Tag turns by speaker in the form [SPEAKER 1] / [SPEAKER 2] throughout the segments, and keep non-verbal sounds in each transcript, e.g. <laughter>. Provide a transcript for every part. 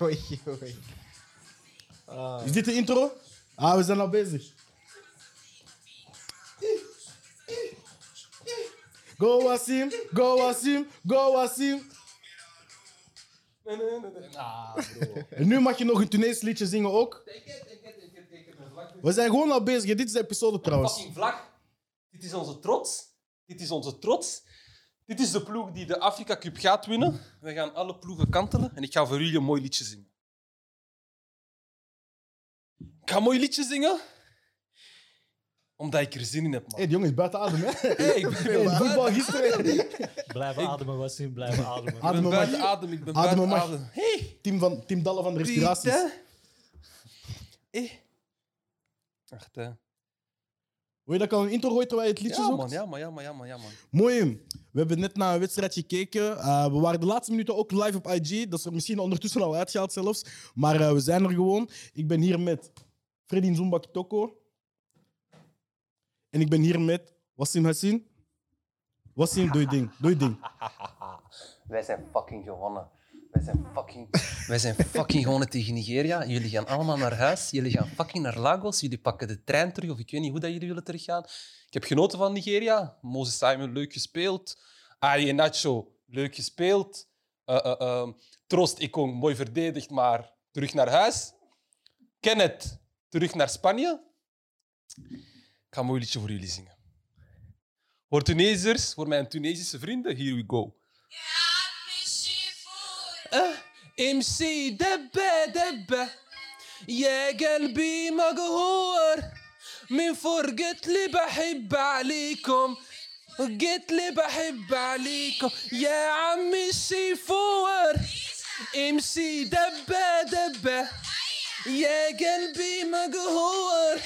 [SPEAKER 1] Oei, oei. Ah.
[SPEAKER 2] Is dit de intro? Ah, we zijn al bezig. Go Wasim, go Wasim, go Wasim.
[SPEAKER 3] Nee, nee, nee, nee. Ah, bro.
[SPEAKER 2] En nu mag je nog een Tunees liedje zingen ook.
[SPEAKER 3] Ik heb, ik heb, ik heb, ik heb een vlak.
[SPEAKER 2] We zijn gewoon al bezig. Dit is de episode trouwens.
[SPEAKER 3] Fucking vlag. Dit is onze trots. Dit is onze trots. Dit is de ploeg die de Afrika Cup gaat winnen. We gaan alle ploegen kantelen en ik ga voor jullie een mooi liedje zingen. Ik ga een mooi liedje zingen omdat ik er zin in heb,
[SPEAKER 2] Hé, hey,
[SPEAKER 3] man.
[SPEAKER 2] die jongen is buiten adem, hè?
[SPEAKER 3] Hey, ik ben
[SPEAKER 2] Hey,
[SPEAKER 3] buiten
[SPEAKER 2] voetbal gisteren.
[SPEAKER 4] Blijven ademen, Wassim, blijven ademen.
[SPEAKER 2] Ademen,
[SPEAKER 3] Ik ben
[SPEAKER 2] mag-
[SPEAKER 3] buiten adem. Ik ben
[SPEAKER 2] Ademen
[SPEAKER 3] buiten
[SPEAKER 2] mag-
[SPEAKER 3] adem. Hey.
[SPEAKER 2] Team, van, team Dalle van de Respiraties.
[SPEAKER 3] Piet, hè? Eh. Echt, hè?
[SPEAKER 2] Wil je dat ik al een intro gooien terwijl je het liedje
[SPEAKER 3] Ja,
[SPEAKER 2] zoekt?
[SPEAKER 3] man, ja, man, ja, man, ja, man, ja, man.
[SPEAKER 2] Mooi. We hebben net naar een wedstrijd gekeken. Eh, we waren de laatste minuten ook live op IG. Dat is er misschien ondertussen al uitgehaald zelfs. Maar eh, we zijn er gewoon. Ik ben hier met Freddy Zumbak Toko. En ik ben hier met Wassim Hassin. Wassim, doe je ding. Doe je ding.
[SPEAKER 3] Wij zijn fucking gewonnen. Wij zijn fucking, <laughs> wij zijn fucking gewonnen tegen Nigeria. Jullie gaan allemaal naar huis. Jullie gaan fucking naar Lagos. Jullie pakken de trein terug. Of ik weet niet hoe dat jullie willen teruggaan. Ik heb genoten van Nigeria. Moses Simon, leuk gespeeld. Aye Nacho, leuk gespeeld. Eh, eh, eh, Troost Ikong, mooi verdedigd, maar terug naar huis. Kenneth, terug naar Spanje. Ik ga een mooi liedje voor jullie zingen. Voor Tunesiërs, voor mijn Tunesische vrienden, here we go. امشي دبة دبة يا قلبي مقهور من فوق قلت لي بحب عليكم قلت لي بحب عليكم يا عمي امشي فور امشي دبة دبة يا قلبي مقهور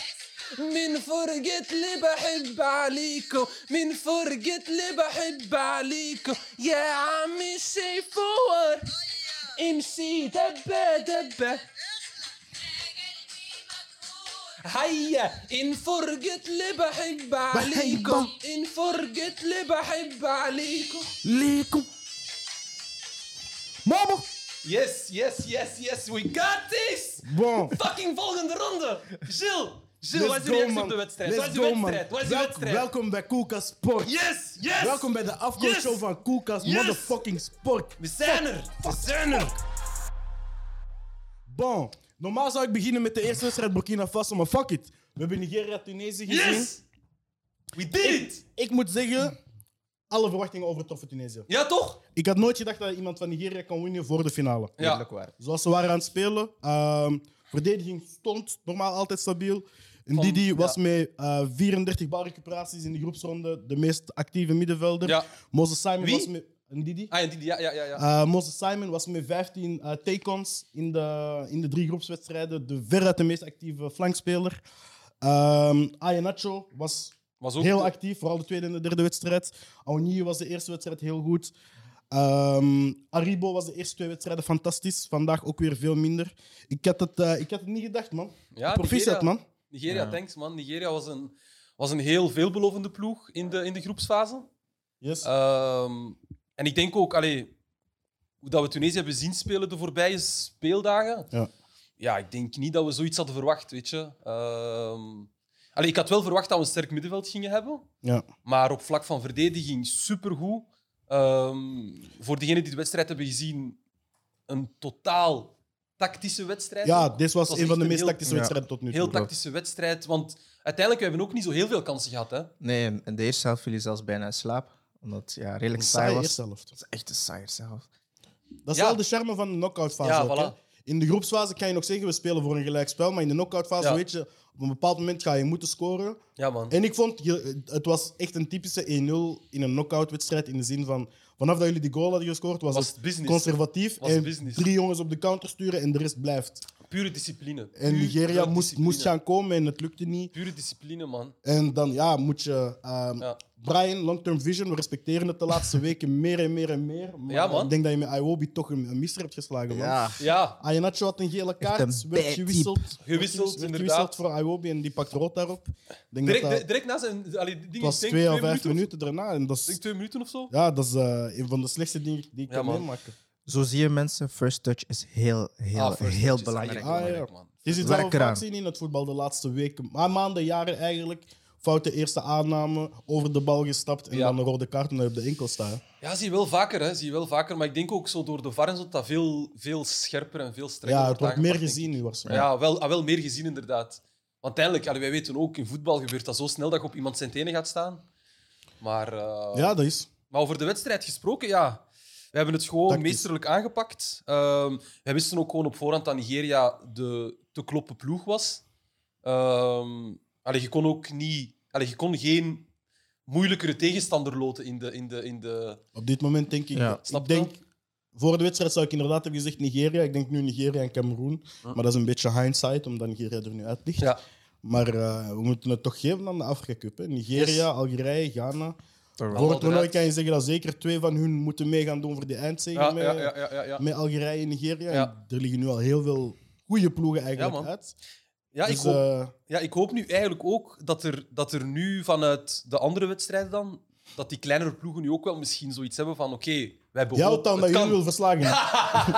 [SPEAKER 3] من فرقة اللي بحب عليكم من فرقة اللي بحب عليكم يا عمي امشي فور امشي دبة دبة هيا ان فرقت اللي بحب عليكم ان فرقت اللي بحب عليكم
[SPEAKER 2] Lekom. Mama.
[SPEAKER 3] Yes, yes, yes, yes, we got this!
[SPEAKER 2] Bon.
[SPEAKER 3] Fucking volgende ronde! Gilles, Gilles,
[SPEAKER 2] Let's
[SPEAKER 3] wat is de
[SPEAKER 2] go,
[SPEAKER 3] reactie
[SPEAKER 2] man.
[SPEAKER 3] op de wedstrijd?
[SPEAKER 2] Let's
[SPEAKER 3] Wat is de
[SPEAKER 2] go, man.
[SPEAKER 3] wedstrijd? Wat is de
[SPEAKER 2] Welk-
[SPEAKER 3] wedstrijd?
[SPEAKER 2] Welkom bij Koelkast Sport.
[SPEAKER 3] Yes, yes!
[SPEAKER 2] Welkom bij de afkomstshow
[SPEAKER 3] Yes.
[SPEAKER 2] van Koelkast
[SPEAKER 3] Yes.
[SPEAKER 2] Motherfucking Sport.
[SPEAKER 3] We zijn er! We zijn er!
[SPEAKER 2] Bon, normaal zou ik beginnen met de eerste wedstrijd Burkina Faso, maar fuck it. We hebben Nigeria-Tunesië gezien.
[SPEAKER 3] Yes! We did it!
[SPEAKER 2] Ik moet zeggen, alle verwachtingen overtroffen Tunesië.
[SPEAKER 3] Ja, toch?
[SPEAKER 2] Ik had nooit gedacht dat iemand van Nigeria kan winnen voor de finale.
[SPEAKER 1] Eerlijk waar.
[SPEAKER 2] Zoals ze waren aan het spelen, ehm, verdediging stond normaal altijd stabiel. En
[SPEAKER 3] Van-
[SPEAKER 2] Didi was
[SPEAKER 3] ja.
[SPEAKER 2] met eh 34 balrecuperaties in de groepsronde de meest actieve middenvelder.
[SPEAKER 3] Ja.
[SPEAKER 2] Moses Simon
[SPEAKER 3] Wie?
[SPEAKER 2] was met... Ndidi?
[SPEAKER 3] Ah, ja, die- ja, ja, ja. ja.
[SPEAKER 2] Eh, Moses Simon was met 15 eh take-ons in de, in de drie groepswedstrijden. De veruit de meest actieve flankspeler. Ehm Ayanacho was
[SPEAKER 3] Was ook
[SPEAKER 2] heel actief, vooral de tweede en de derde wedstrijd. Aonyi was de eerste wedstrijd heel goed. Ehm, Aribo was de eerste twee wedstrijden fantastisch. Vandaag ook weer veel minder. Ik had het, eh, ik had het niet gedacht, man.
[SPEAKER 3] Ja,
[SPEAKER 2] Proficiat,
[SPEAKER 3] Ah, Nigeria-
[SPEAKER 2] man.
[SPEAKER 3] Nigeria,
[SPEAKER 4] Ja.
[SPEAKER 3] thanks man. Nigeria was een, was een heel veelbelovende ploeg in de, in de groepsfase.
[SPEAKER 2] Yes.
[SPEAKER 3] Ehm, en ik denk ook, allee, hoe dat we Tunesië hebben zien spelen de voorbije speeldagen.
[SPEAKER 2] Ja.
[SPEAKER 3] Ja, ik denk niet dat we zoiets hadden verwacht, weet je. Ehm, allee, ik had wel verwacht dat we een sterk middenveld gingen hebben.
[SPEAKER 2] ja.
[SPEAKER 3] Maar op vlak van verdediging supergoed. Ehm voor degenen die de wedstrijd hebben gezien, een totaal tactische wedstrijd.
[SPEAKER 2] ja,
[SPEAKER 3] ook.
[SPEAKER 2] dit was,
[SPEAKER 3] Het
[SPEAKER 2] een van de
[SPEAKER 3] echt
[SPEAKER 2] meest
[SPEAKER 3] heel-
[SPEAKER 2] tactische
[SPEAKER 1] ja,
[SPEAKER 2] wedstrijden tot nu toe.
[SPEAKER 3] Heel tactische wedstrijd, want uiteindelijk hebben we ook niet zo heel veel kansen gehad. Hè?
[SPEAKER 1] <laughs> Nee, in de eerste helft viel je zelfs bijna in slaap. Omdat het ja, redelijk saai
[SPEAKER 2] Saai
[SPEAKER 1] was.
[SPEAKER 2] eerste helft.
[SPEAKER 1] Dat is echt een saai zelf.
[SPEAKER 2] Dat is
[SPEAKER 3] Ja.
[SPEAKER 2] wel de charme van de knock-outfase.
[SPEAKER 3] Ja,
[SPEAKER 2] ook,
[SPEAKER 3] voilà.
[SPEAKER 2] hè. In de groepsfase kan je nog zeggen, we spelen voor een gelijk spel. Maar in de knock-outfase,
[SPEAKER 3] Ja.
[SPEAKER 2] weet je, op een bepaald moment ga je moeten scoren.
[SPEAKER 3] Ja, man.
[SPEAKER 2] En ik vond, je- het was echt een typische 1-0 in een knock-out wedstrijd. In de zin van, vanaf dat jullie die goal hadden gescoord, was,
[SPEAKER 3] was
[SPEAKER 2] het
[SPEAKER 3] het business.
[SPEAKER 2] conservatief.
[SPEAKER 3] Was
[SPEAKER 2] en
[SPEAKER 3] business.
[SPEAKER 2] drie jongens op de counter sturen en de rest blijft.
[SPEAKER 3] Pure discipline.
[SPEAKER 2] En
[SPEAKER 3] Pure
[SPEAKER 2] Nigeria moest,
[SPEAKER 3] discipline.
[SPEAKER 2] moest gaan komen en het lukte niet.
[SPEAKER 3] Pure discipline, man.
[SPEAKER 2] En dan ja, moet je... ehm,
[SPEAKER 3] Ja.
[SPEAKER 2] Brian, long-term vision, we respecteren het de laatste <laughs> weken meer en meer en meer. Maar
[SPEAKER 3] Ja, man.
[SPEAKER 2] ik denk dat je met Iwobi toch een, een misser hebt geslagen, man.
[SPEAKER 1] Ja.
[SPEAKER 3] Ja,
[SPEAKER 2] Ayanacho Ah, had een gele kaart,
[SPEAKER 1] Echt een
[SPEAKER 2] werd
[SPEAKER 1] bad
[SPEAKER 2] gewisseld. werd
[SPEAKER 3] Gewisseld,
[SPEAKER 2] werd
[SPEAKER 3] inderdaad.
[SPEAKER 2] voor Iwobi en die pakt rood daarop. Ik denk
[SPEAKER 3] direct,
[SPEAKER 2] dat dat,
[SPEAKER 3] di- direct na zijn. Allee, die
[SPEAKER 2] het
[SPEAKER 3] dingen,
[SPEAKER 2] was
[SPEAKER 3] ik denk
[SPEAKER 2] twee à vijf
[SPEAKER 3] minuten.
[SPEAKER 2] minuten daarna. En dat
[SPEAKER 3] Of, ik denk
[SPEAKER 2] is,
[SPEAKER 3] twee minuten of zo.
[SPEAKER 2] ja, dat is eh, een van de slechtste dingen die ik
[SPEAKER 3] Ja,
[SPEAKER 2] kan
[SPEAKER 3] man.
[SPEAKER 2] meemaken.
[SPEAKER 1] Zo zie je mensen, first touch is heel, heel,
[SPEAKER 3] Ah, first
[SPEAKER 1] heel
[SPEAKER 3] touch is
[SPEAKER 1] belangrijk.
[SPEAKER 3] echt belangrijk,
[SPEAKER 2] Ah,
[SPEAKER 3] man.
[SPEAKER 2] Je ziet
[SPEAKER 1] Werk
[SPEAKER 2] wel vaak
[SPEAKER 1] eraan.
[SPEAKER 2] zien in het voetbal de laatste weken, maar maanden, jaren eigenlijk. Foute eerste aanname, over de bal gestapt en
[SPEAKER 3] Ja.
[SPEAKER 2] dan een rode kaart en dan op de enkel staan.
[SPEAKER 3] Ja, zie je wel vaker, hè? Zie je wel vaker. Maar ik denk ook zo door de VAR en zo dat dat veel, veel scherper en veel strenger
[SPEAKER 2] Ja, het wordt meer
[SPEAKER 3] aangepakt, denk
[SPEAKER 2] gezien
[SPEAKER 3] ik.
[SPEAKER 2] nu waarschijnlijk.
[SPEAKER 3] Ja, wel, ah, wel meer gezien inderdaad. Want uiteindelijk, allee, wij weten ook, in voetbal gebeurt dat zo snel dat je op iemand zijn tenen gaat staan. Maar, eh,
[SPEAKER 2] Ja, dat is.
[SPEAKER 3] maar over de wedstrijd gesproken, ja. We hebben het gewoon
[SPEAKER 2] Tactisch.
[SPEAKER 3] meesterlijk aangepakt. Ehm wij wisten ook gewoon op voorhand dat Nigeria de te kloppen ploeg was. Ehm allee, je kon ook niet... Allee, je kon geen moeilijkere tegenstander loten in de... In de, in de
[SPEAKER 2] Op dit moment denk ik.
[SPEAKER 1] Ja.
[SPEAKER 3] Snap
[SPEAKER 2] ik
[SPEAKER 3] je wel?
[SPEAKER 2] denk, voor de wedstrijd zou ik inderdaad hebben gezegd Nigeria. Ik denk nu Nigeria en Cameroen. Maar dat is een beetje hindsight, omdat Nigeria er nu uit ligt.
[SPEAKER 3] Ja.
[SPEAKER 2] Maar eh, we moeten het toch geven aan de Afrika Cup. Hè. Nigeria,
[SPEAKER 3] Yes.
[SPEAKER 2] Algerije, Ghana.
[SPEAKER 3] Allemaal
[SPEAKER 2] Voor het toernooi
[SPEAKER 3] eruit.
[SPEAKER 2] kan je zeggen dat zeker twee van hun moeten mee gaan doen voor die eindzege
[SPEAKER 3] Ja,
[SPEAKER 2] met,
[SPEAKER 3] ja, ja, ja, ja, ja.
[SPEAKER 2] met Algerije en Nigeria.
[SPEAKER 3] Ja.
[SPEAKER 2] En er liggen nu al heel veel goede ploegen eigenlijk
[SPEAKER 3] Ja, man.
[SPEAKER 2] uit.
[SPEAKER 3] Ja, ik
[SPEAKER 2] dus,
[SPEAKER 3] hoop,
[SPEAKER 2] eh,
[SPEAKER 3] ja, ik hoop nu eigenlijk ook dat er, dat er nu vanuit de andere wedstrijden dan, dat die kleinere ploegen nu ook wel misschien zoiets hebben van oké, wij
[SPEAKER 2] Jij
[SPEAKER 3] behoren...
[SPEAKER 2] houdt aan
[SPEAKER 3] het
[SPEAKER 2] dat
[SPEAKER 3] kan.
[SPEAKER 2] jullie wil verslagen.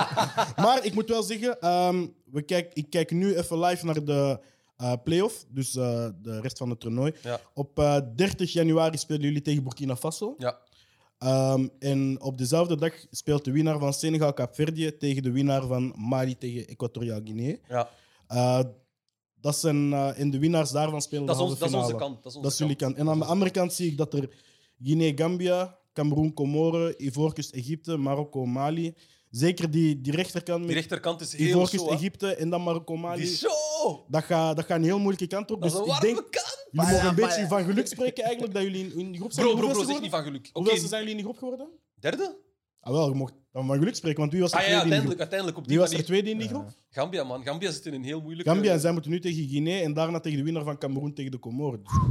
[SPEAKER 3] <laughs>
[SPEAKER 2] maar ik moet wel zeggen, ehm, we kijk, ik kijk nu even live naar de eh play-off, dus eh, de rest van het toernooi.
[SPEAKER 3] Ja.
[SPEAKER 2] Op eh, 30 januari spelen jullie tegen Burkina Faso.
[SPEAKER 3] Ja,
[SPEAKER 2] Ehm, en op dezelfde dag speelt de winnaar van Senegal Kaapverdië tegen de winnaar van Mali tegen Equatoriaal Guinea.
[SPEAKER 3] ja.
[SPEAKER 2] Eh, dat zijn, eh, en de winnaars daarvan spelen
[SPEAKER 3] Dat,
[SPEAKER 2] de
[SPEAKER 3] is
[SPEAKER 2] halve
[SPEAKER 3] ons, dat is onze
[SPEAKER 2] finale.
[SPEAKER 3] kant. Dat is, onze
[SPEAKER 2] Dat is jullie
[SPEAKER 3] kant.
[SPEAKER 2] kant. En aan de andere kant zie ik dat er Guinea-Gambia, Cameroen, Comoren, Ivoorkust, Egypte, Marokko, Mali. Zeker die, die rechterkant
[SPEAKER 3] Die
[SPEAKER 2] met
[SPEAKER 3] rechterkant is heel
[SPEAKER 2] Ivoorkust,
[SPEAKER 3] zo, hè.
[SPEAKER 2] Egypte en dan Marokko,
[SPEAKER 3] Die
[SPEAKER 2] Mali.
[SPEAKER 3] is zo!
[SPEAKER 2] Dat gaat dat gaat een heel moeilijke kant op.
[SPEAKER 3] Dat
[SPEAKER 2] Dus
[SPEAKER 3] is
[SPEAKER 2] ik
[SPEAKER 3] een warme
[SPEAKER 2] denk,
[SPEAKER 3] kant!
[SPEAKER 2] jullie mogen
[SPEAKER 1] Maar
[SPEAKER 2] een
[SPEAKER 1] ja,
[SPEAKER 2] beetje
[SPEAKER 1] maar
[SPEAKER 2] van geluk spreken eigenlijk dat jullie in, in die groep zijn.
[SPEAKER 3] Bro, bro,
[SPEAKER 2] Hoeveelste
[SPEAKER 3] bro, zeg
[SPEAKER 2] geworden?
[SPEAKER 3] niet van geluk. Oké,
[SPEAKER 2] Hoeveelste zijn jullie in die groep geworden?
[SPEAKER 3] derde?
[SPEAKER 2] Ah wel, je mocht dan van geluk spreken, want wie was er
[SPEAKER 3] Ah ja, ja,
[SPEAKER 2] tweede in die groep?
[SPEAKER 3] uiteindelijk, uiteindelijk op die
[SPEAKER 2] Wie was er
[SPEAKER 3] manier.
[SPEAKER 2] tweede in die groep?
[SPEAKER 3] Gambia, man. Gambia zit in een heel moeilijke...
[SPEAKER 2] Gambia en zij moeten nu tegen Guinea en daarna tegen de winnaar van Cameroen tegen de Comoren. Dus het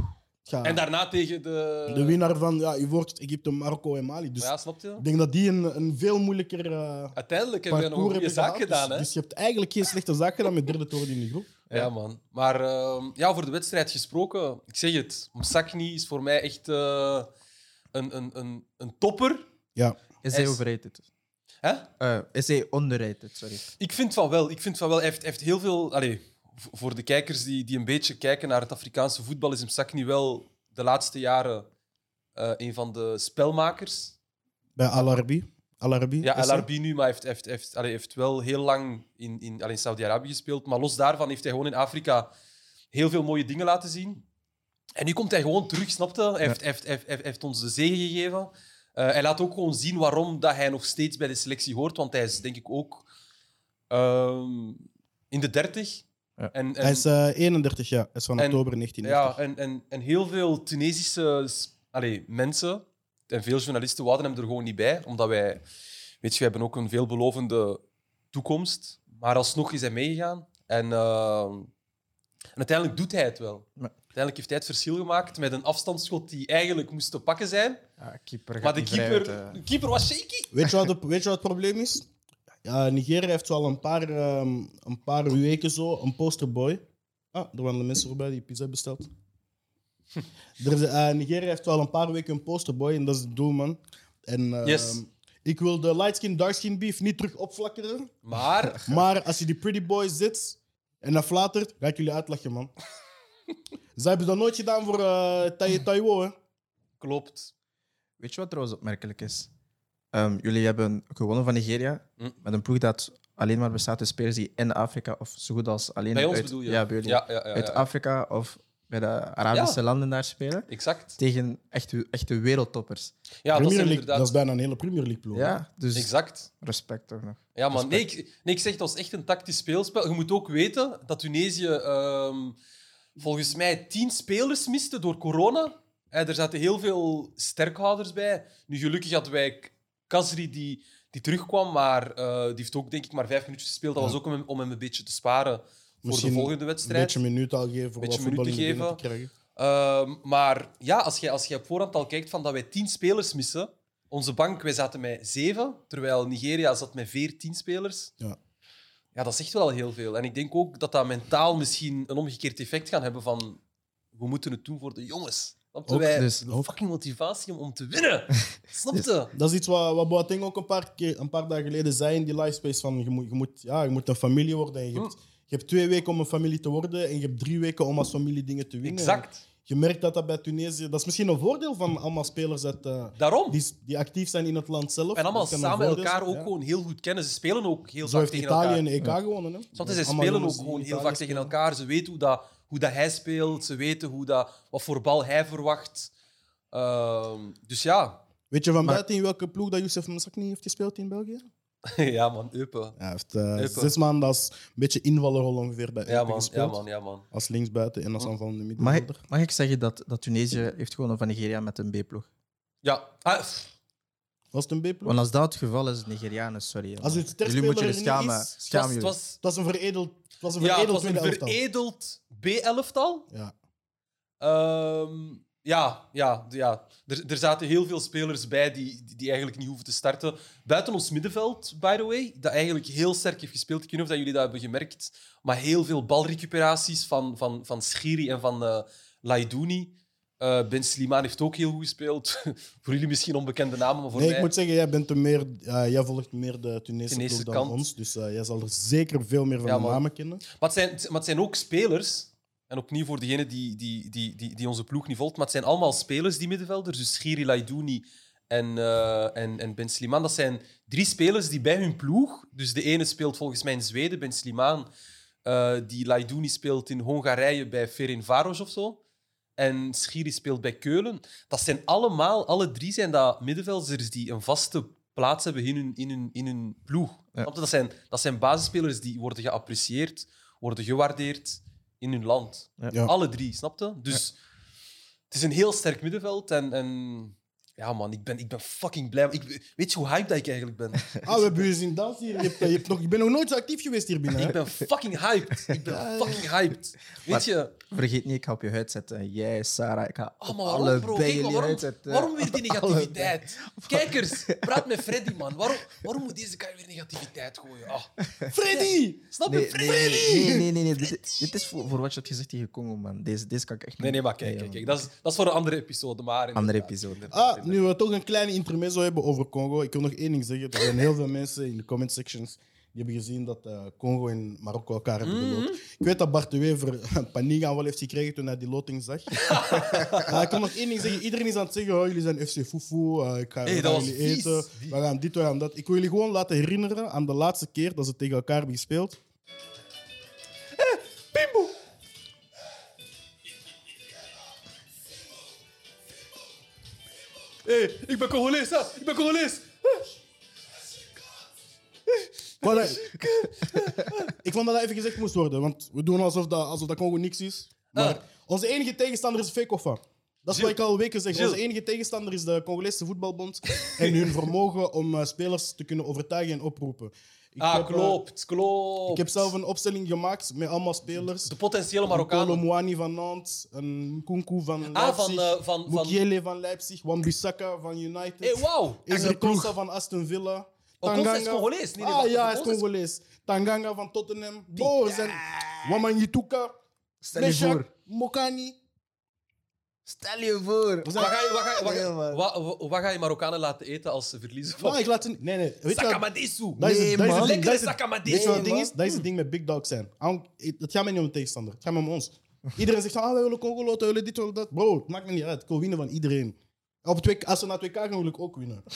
[SPEAKER 2] gaat-
[SPEAKER 3] En daarna tegen de...
[SPEAKER 2] de winnaar van ja, Ivoorkust, Egypte, Marokko en Mali. Dus
[SPEAKER 3] Maar Ja, snap je?
[SPEAKER 2] Ik denk dat die een, een veel moeilijker eh
[SPEAKER 3] Uiteindelijk hebben we nog
[SPEAKER 2] parcours
[SPEAKER 3] een goede
[SPEAKER 2] hebben
[SPEAKER 3] zaak
[SPEAKER 2] gehad. Dus-
[SPEAKER 3] gedaan, hè?
[SPEAKER 2] Dus je hebt eigenlijk geen slechte zaak gedaan met derde toren in de groep.
[SPEAKER 3] Ja, man. Maar ehm, ja, voor de wedstrijd gesproken, ik zeg het, Msakni is voor mij echt eh, een, een, een, een topper.
[SPEAKER 2] Ja.
[SPEAKER 1] Is
[SPEAKER 3] Is-
[SPEAKER 1] hij overrated?
[SPEAKER 3] Hè?
[SPEAKER 1] Eh, is hij underrated, sorry.
[SPEAKER 3] Ik vind van wel. Ik vind van wel. Hij heeft, hij heeft heel veel... Allee, v- voor de kijkers die, die een beetje kijken naar het Afrikaanse voetbal, is Msakni wel de laatste jaren eh, een van de spelmakers.
[SPEAKER 2] Bij Alarbi. Alarbi.
[SPEAKER 3] Ja, LRB nu, maar heeft, heeft, heeft, allee, heeft wel heel lang in, in, allee, in Saudi-Arabi gespeeld. Maar los daarvan heeft hij gewoon in Afrika heel veel mooie dingen laten zien. En nu komt hij gewoon terug, snapte? Hij heeft, heeft, heeft, heeft, heeft ons de zegen gegeven. Eh, hij laat ook gewoon zien waarom dat hij nog steeds bij de selectie hoort. Want hij is denk ik ook ehm, in de 30.
[SPEAKER 1] Ja.
[SPEAKER 3] En, en,
[SPEAKER 2] Hij is eh, 31 jaar. Hij is van
[SPEAKER 3] En-
[SPEAKER 2] oktober 1990.
[SPEAKER 3] ja, en, en, en heel veel Tunesische s- allee, mensen en veel journalisten wouden hem er gewoon niet bij, omdat wij, weet je, we hebben ook een veelbelovende toekomst. Maar alsnog is hij meegegaan. En, eh, en uiteindelijk doet hij het wel.
[SPEAKER 1] Maar-
[SPEAKER 3] Uiteindelijk heeft hij het verschil gemaakt met een afstandsschot die eigenlijk moest te pakken zijn.
[SPEAKER 1] Ja, keeper gaat
[SPEAKER 3] Maar de
[SPEAKER 1] niet vrij
[SPEAKER 3] keeper,
[SPEAKER 1] uit, eh.
[SPEAKER 3] de keeper was shaky.
[SPEAKER 2] Weet, je wat de- weet je wat het probleem is? Ja, Nigeria heeft zo al een paar, ehm, een paar weken zo een posterboy. Ah, er waren de mensen voorbij die pizza hebben
[SPEAKER 3] <laughs>
[SPEAKER 2] besteld. Er is, eh, Nigeria heeft wel een paar weken een posterboy en dat is de doelman. En ehm,
[SPEAKER 3] Yes.
[SPEAKER 2] ik wil de light skin, dark skin beef niet terug
[SPEAKER 1] <laughs>
[SPEAKER 2] opflakkeren.
[SPEAKER 3] Maar
[SPEAKER 2] Maar als je die pretty boy zit en dat flatert, ga ik jullie uitlachen,
[SPEAKER 3] <laughs>
[SPEAKER 2] man. Zij hebben dat nooit gedaan voor eh Tai- Taiwo, hè?
[SPEAKER 3] klopt.
[SPEAKER 1] Weet je wat trouwens opmerkelijk is? Ehm, jullie hebben gewonnen van Nigeria
[SPEAKER 3] Hm.
[SPEAKER 1] met een ploeg dat alleen maar bestaat uit spelers die in Afrika of zo goed als alleen
[SPEAKER 3] Bij ons
[SPEAKER 1] uit,
[SPEAKER 3] bedoel je?
[SPEAKER 1] Ja, bij jullie.
[SPEAKER 3] Ja, ja, ja,
[SPEAKER 1] uit
[SPEAKER 3] ja.
[SPEAKER 1] Afrika of bij de Arabische landen daar spelen.
[SPEAKER 3] Exact.
[SPEAKER 1] Tegen echte, echte wereldtoppers.
[SPEAKER 3] Ja, dat
[SPEAKER 2] Premier
[SPEAKER 3] is
[SPEAKER 2] League, dat is
[SPEAKER 3] inderdaad.
[SPEAKER 2] bijna een hele Premier League ploeg. hè?
[SPEAKER 1] Ja, dus
[SPEAKER 3] Exact.
[SPEAKER 1] respect toch nog.
[SPEAKER 3] Ja, man. Nee, ik, nee, ik zeg, dat is echt een tactisch speelspel. Je moet ook weten dat Tunesië ehm, volgens mij tien spelers miste door corona. Hè, er zaten heel veel sterkhouders bij. Nu, gelukkig hadden wij K- Kasri die, die terugkwam, maar eh, die heeft ook denk ik maar vijf minuutjes gespeeld. Dat
[SPEAKER 2] Ja.
[SPEAKER 3] was ook om hem, om hem een beetje te sparen
[SPEAKER 2] Misschien
[SPEAKER 3] voor de volgende
[SPEAKER 2] Een
[SPEAKER 3] wedstrijd.
[SPEAKER 2] beetje minuut al geven voor
[SPEAKER 3] Beetje
[SPEAKER 2] wat voetbal in
[SPEAKER 3] minuten
[SPEAKER 2] de benen
[SPEAKER 3] geven.
[SPEAKER 2] te krijgen.
[SPEAKER 3] Ehm, maar ja, als je, als je op voorhand al kijkt van dat wij tien spelers missen. Onze bank, wij zaten met zeven, terwijl Nigeria zat met veertien spelers.
[SPEAKER 2] Ja.
[SPEAKER 3] ja, dat zegt wel heel veel. En ik denk ook dat dat mentaal misschien een omgekeerd effect gaat hebben van we moeten het doen voor de jongens. Snapte
[SPEAKER 1] Ook
[SPEAKER 3] wij
[SPEAKER 1] dus.
[SPEAKER 3] de fucking motivatie om, om
[SPEAKER 2] <laughs>
[SPEAKER 3] te winnen?
[SPEAKER 2] Dus
[SPEAKER 3] Snapte?
[SPEAKER 2] Dat is iets wat, wat Boateng ook een paar, keer, een paar dagen geleden zei in die livespace. Van je, moet, je, moet, ja, je moet een familie worden. En je,
[SPEAKER 3] Hmm.
[SPEAKER 2] hebt, je hebt twee weken om een familie te worden en je hebt drie weken om als familie dingen te winnen.
[SPEAKER 3] Exact.
[SPEAKER 2] Je merkt dat dat bij Tunesië... Dat is misschien een voordeel van allemaal spelers dat, eh,
[SPEAKER 3] Daarom.
[SPEAKER 2] die, die actief zijn in het land zelf.
[SPEAKER 3] En allemaal
[SPEAKER 2] Dat kan een
[SPEAKER 3] samen
[SPEAKER 2] voordeel
[SPEAKER 3] elkaar
[SPEAKER 2] zijn,
[SPEAKER 3] ook
[SPEAKER 2] ja.
[SPEAKER 3] gewoon heel goed kennen. Ze spelen ook heel
[SPEAKER 2] Zo
[SPEAKER 3] vaak
[SPEAKER 2] heeft
[SPEAKER 3] tegen
[SPEAKER 2] Italië
[SPEAKER 3] elkaar. Hmm.
[SPEAKER 2] een EK gewonnen. Hè?
[SPEAKER 3] Snapte? Ze
[SPEAKER 2] Allemaal
[SPEAKER 3] spelen ook
[SPEAKER 2] jongens die
[SPEAKER 3] gewoon heel
[SPEAKER 2] Italië
[SPEAKER 3] vaak tegen
[SPEAKER 2] spelen.
[SPEAKER 3] elkaar. Ze weten hoe, dat, hoe dat hij speelt. Ze weten hoe dat, wat voor bal hij verwacht. Ehm, dus ja.
[SPEAKER 2] Weet je van
[SPEAKER 1] Maar-
[SPEAKER 2] buiten in welke ploeg dat Youssef Massak niet heeft gespeeld in België?
[SPEAKER 3] <laughs> ja, man. Eupen.
[SPEAKER 2] Hij heeft eh,
[SPEAKER 3] Eupen.
[SPEAKER 2] zes maanden als een beetje invallerrol ongeveer bij
[SPEAKER 3] Ja,
[SPEAKER 2] Eupen
[SPEAKER 3] man. Ja,
[SPEAKER 2] gespeeld.
[SPEAKER 3] man. Ja, Hm. man.
[SPEAKER 2] Als linksbuiten en als aanvallende
[SPEAKER 1] Mag ik,
[SPEAKER 2] middenvelder.
[SPEAKER 1] mag ik zeggen dat, dat Tunesië heeft gewonnen van Nigeria met een B-ploeg?
[SPEAKER 3] Ja. Ah, pff,
[SPEAKER 2] Was het een B-ploeg?
[SPEAKER 1] Want als dat het geval is, Nigerianen, sorry.
[SPEAKER 2] Als het sterk
[SPEAKER 1] Jullie moeten je
[SPEAKER 2] speler er niet
[SPEAKER 1] schamen.
[SPEAKER 2] is,
[SPEAKER 3] het was,
[SPEAKER 1] schamen
[SPEAKER 3] het
[SPEAKER 1] jullie.
[SPEAKER 3] was,
[SPEAKER 2] Het was een veredeld, het was een
[SPEAKER 3] ja, het
[SPEAKER 2] veredeld
[SPEAKER 3] was een
[SPEAKER 2] tweede elftal.
[SPEAKER 3] veredeld B-elftal.
[SPEAKER 2] Ja.
[SPEAKER 3] Ehm, ja, ja, ja. Er, er zaten heel veel spelers bij die, die, die eigenlijk niet hoeven te starten. Buiten ons middenveld, by the way, dat eigenlijk heel sterk heeft gespeeld. Ik weet niet of dat jullie dat hebben gemerkt, maar heel veel balrecuperaties van, van, van Schiri en van eh Laidouni. Eh, ben Slimane heeft ook heel goed gespeeld. <laughs> voor jullie misschien onbekende namen, maar voor
[SPEAKER 2] Nee,
[SPEAKER 3] mij...
[SPEAKER 2] ik moet zeggen, jij, bent er meer, eh, jij volgt meer de Tunese
[SPEAKER 3] Tunese
[SPEAKER 2] ploeg dan
[SPEAKER 3] kant.
[SPEAKER 2] ons. Dus eh, jij zal er zeker veel meer van
[SPEAKER 3] Ja,
[SPEAKER 2] de
[SPEAKER 3] man.
[SPEAKER 2] namen kennen.
[SPEAKER 3] Maar het, zijn, maar het zijn ook spelers. En opnieuw voor degene die, die, die, die, die onze ploeg niet volgt. Maar het zijn allemaal spelers, die middenvelders. Dus Schiri, Laidouni en, eh, en, en Ben Sliman. Dat zijn drie spelers die bij hun ploeg... Dus de ene speelt volgens mij in Zweden, Ben Sliman. eh, die Laidouni speelt in Hongarije bij Ferencváros of zo. En Schiri speelt bij Keulen. Dat zijn allemaal... Alle drie zijn dat middenvelders die een vaste plaats hebben in hun, in hun, in hun ploeg.
[SPEAKER 1] Ja.
[SPEAKER 3] Want dat zijn, dat zijn basisspelers die worden geapprecieerd worden gewaardeerd in hun land.
[SPEAKER 1] Ja.
[SPEAKER 2] Ja.
[SPEAKER 3] Alle drie, snapte? Dus het is een heel sterk middenveld. En, en ja, man, ik ben, ik ben fucking blij. Ik, weet je hoe hype dat ik eigenlijk
[SPEAKER 1] <laughs>
[SPEAKER 3] ben?
[SPEAKER 2] Ah, we hebben je zien dansen hier. Je, hebt, eh, je, hebt nog, je bent nog nooit zo actief geweest hier binnen. hè?
[SPEAKER 3] <laughs> ik ben fucking hyped. Ik ben fucking hyped. Weet
[SPEAKER 1] Maar-
[SPEAKER 3] je?
[SPEAKER 1] Vergeet niet, ik ga op je huid zetten. Jij, Sarah, ik ga
[SPEAKER 3] Oh,
[SPEAKER 1] op
[SPEAKER 3] maar
[SPEAKER 1] alle
[SPEAKER 3] waarom, bro?
[SPEAKER 1] bij
[SPEAKER 3] Kijk, maar
[SPEAKER 1] jullie
[SPEAKER 3] waarom,
[SPEAKER 1] huid zetten.
[SPEAKER 3] waarom weer die
[SPEAKER 1] eh, <laughs> Alle
[SPEAKER 3] negativiteit? Kijkers, praat met Freddy, man. Waarom, waarom moet deze guy weer negativiteit gooien? Ah,
[SPEAKER 2] Freddy!
[SPEAKER 3] snap je,
[SPEAKER 1] Nee,
[SPEAKER 3] Freddy?
[SPEAKER 1] nee, nee, nee, nee, nee, nee. Dit, dit is voor, voor wat je hebt gezegd tegen Congo, man. Deze, deze kan ik echt niet.
[SPEAKER 3] Nee, nee, maar kijk, kijk, kijk. Dat, is, dat is voor een andere episode. Maar
[SPEAKER 1] Andere
[SPEAKER 3] inderdaad,
[SPEAKER 1] episode.
[SPEAKER 3] inderdaad,
[SPEAKER 2] Ah,
[SPEAKER 3] inderdaad.
[SPEAKER 2] nu we toch een kleine intermezzo hebben over Congo. Ik wil nog één ding zeggen. Er zijn heel veel mensen in de comment sections die hebben gezien dat eh, Congo en Marokko elkaar hebben
[SPEAKER 3] Mhm.
[SPEAKER 2] geloot. Ik weet dat Bart de Wever een paniekaanval heeft gekregen toen hij die loting
[SPEAKER 3] <laughs>
[SPEAKER 2] zag. Ah, ik wil nog één ding zeggen. Iedereen is aan het zeggen, oh, jullie zijn FC Fufu, eh, ik ga
[SPEAKER 3] Hey,
[SPEAKER 2] we
[SPEAKER 3] dat
[SPEAKER 2] gaan
[SPEAKER 3] was
[SPEAKER 2] jullie
[SPEAKER 3] vies.
[SPEAKER 2] eten,
[SPEAKER 3] Die-
[SPEAKER 2] we gaan dit, we gaan dat. Ik wil jullie gewoon laten herinneren aan de laatste keer dat ze tegen elkaar hebben gespeeld.
[SPEAKER 3] Hé, ik ben Congolees, hè? ik ben Congolees.
[SPEAKER 2] Maar dat- ik vond dat dat even gezegd moest worden, want we doen alsof dat, alsof dat Congo niks is. Maar
[SPEAKER 3] Ah.
[SPEAKER 2] onze enige tegenstander is Vekofa. Dat is wat ik
[SPEAKER 3] Gilles.
[SPEAKER 2] al weken zeg.
[SPEAKER 3] Gilles.
[SPEAKER 2] Onze enige tegenstander is de Congolese voetbalbond en hun vermogen om eh, spelers te kunnen overtuigen en oproepen. Ik
[SPEAKER 3] Ah,
[SPEAKER 2] heb, eh,
[SPEAKER 3] klopt, klopt.
[SPEAKER 2] Ik heb zelf een opstelling gemaakt met allemaal spelers.
[SPEAKER 3] De potentiële
[SPEAKER 2] Kolo
[SPEAKER 3] Marokkanen.
[SPEAKER 2] Muani van Nantes, een Kunku van
[SPEAKER 3] Ah,
[SPEAKER 2] Leipzig,
[SPEAKER 3] van, eh, van- van- Eh,
[SPEAKER 2] Mukiele van Leipzig, Wan-Bissaka van United.
[SPEAKER 3] Hé, wauw.
[SPEAKER 2] Ezra Costa van Aston Villa.
[SPEAKER 3] Oh, Costa is Congolees. Nee, nee,
[SPEAKER 2] ah
[SPEAKER 3] wacht,
[SPEAKER 2] ja, hij is
[SPEAKER 3] Costa is-
[SPEAKER 2] Congolees. Tanganga van Tottenham. Bro, er zijn Wamanyituka.
[SPEAKER 1] Stel je
[SPEAKER 2] Meshack,
[SPEAKER 1] voor.
[SPEAKER 2] Mokani.
[SPEAKER 1] Stel je voor.
[SPEAKER 2] Er
[SPEAKER 3] Wat
[SPEAKER 2] zijn-
[SPEAKER 3] ga, je, wat, ga, je- wat,
[SPEAKER 1] Nee,
[SPEAKER 3] ga,
[SPEAKER 1] man.
[SPEAKER 3] wat, wat- wat ga je Marokkanen laten eten als ze verliezen
[SPEAKER 2] Ah,
[SPEAKER 3] van
[SPEAKER 2] ik laat ze niet- Nee, nee. Weet je wat-
[SPEAKER 3] Sakamadisu?
[SPEAKER 2] dat is het-
[SPEAKER 1] Nee,
[SPEAKER 2] dat is het
[SPEAKER 1] man.
[SPEAKER 2] ding, dat is het-
[SPEAKER 3] Lekkere
[SPEAKER 2] Weet je wat het
[SPEAKER 3] Sakamadisu.
[SPEAKER 2] ding is? Dat is het ding met big dogs zijn. Aan- Het gaat mij niet om de tegenstander. Het gaat mij om ons. Iedereen zegt, ah, wij willen Congo loten, wij willen dit, wij willen dat. Bro, het maakt me niet uit. Ik wil winnen van iedereen. Op het 2K als we naar 2K gaan, wil ik ook winnen.
[SPEAKER 3] <laughs>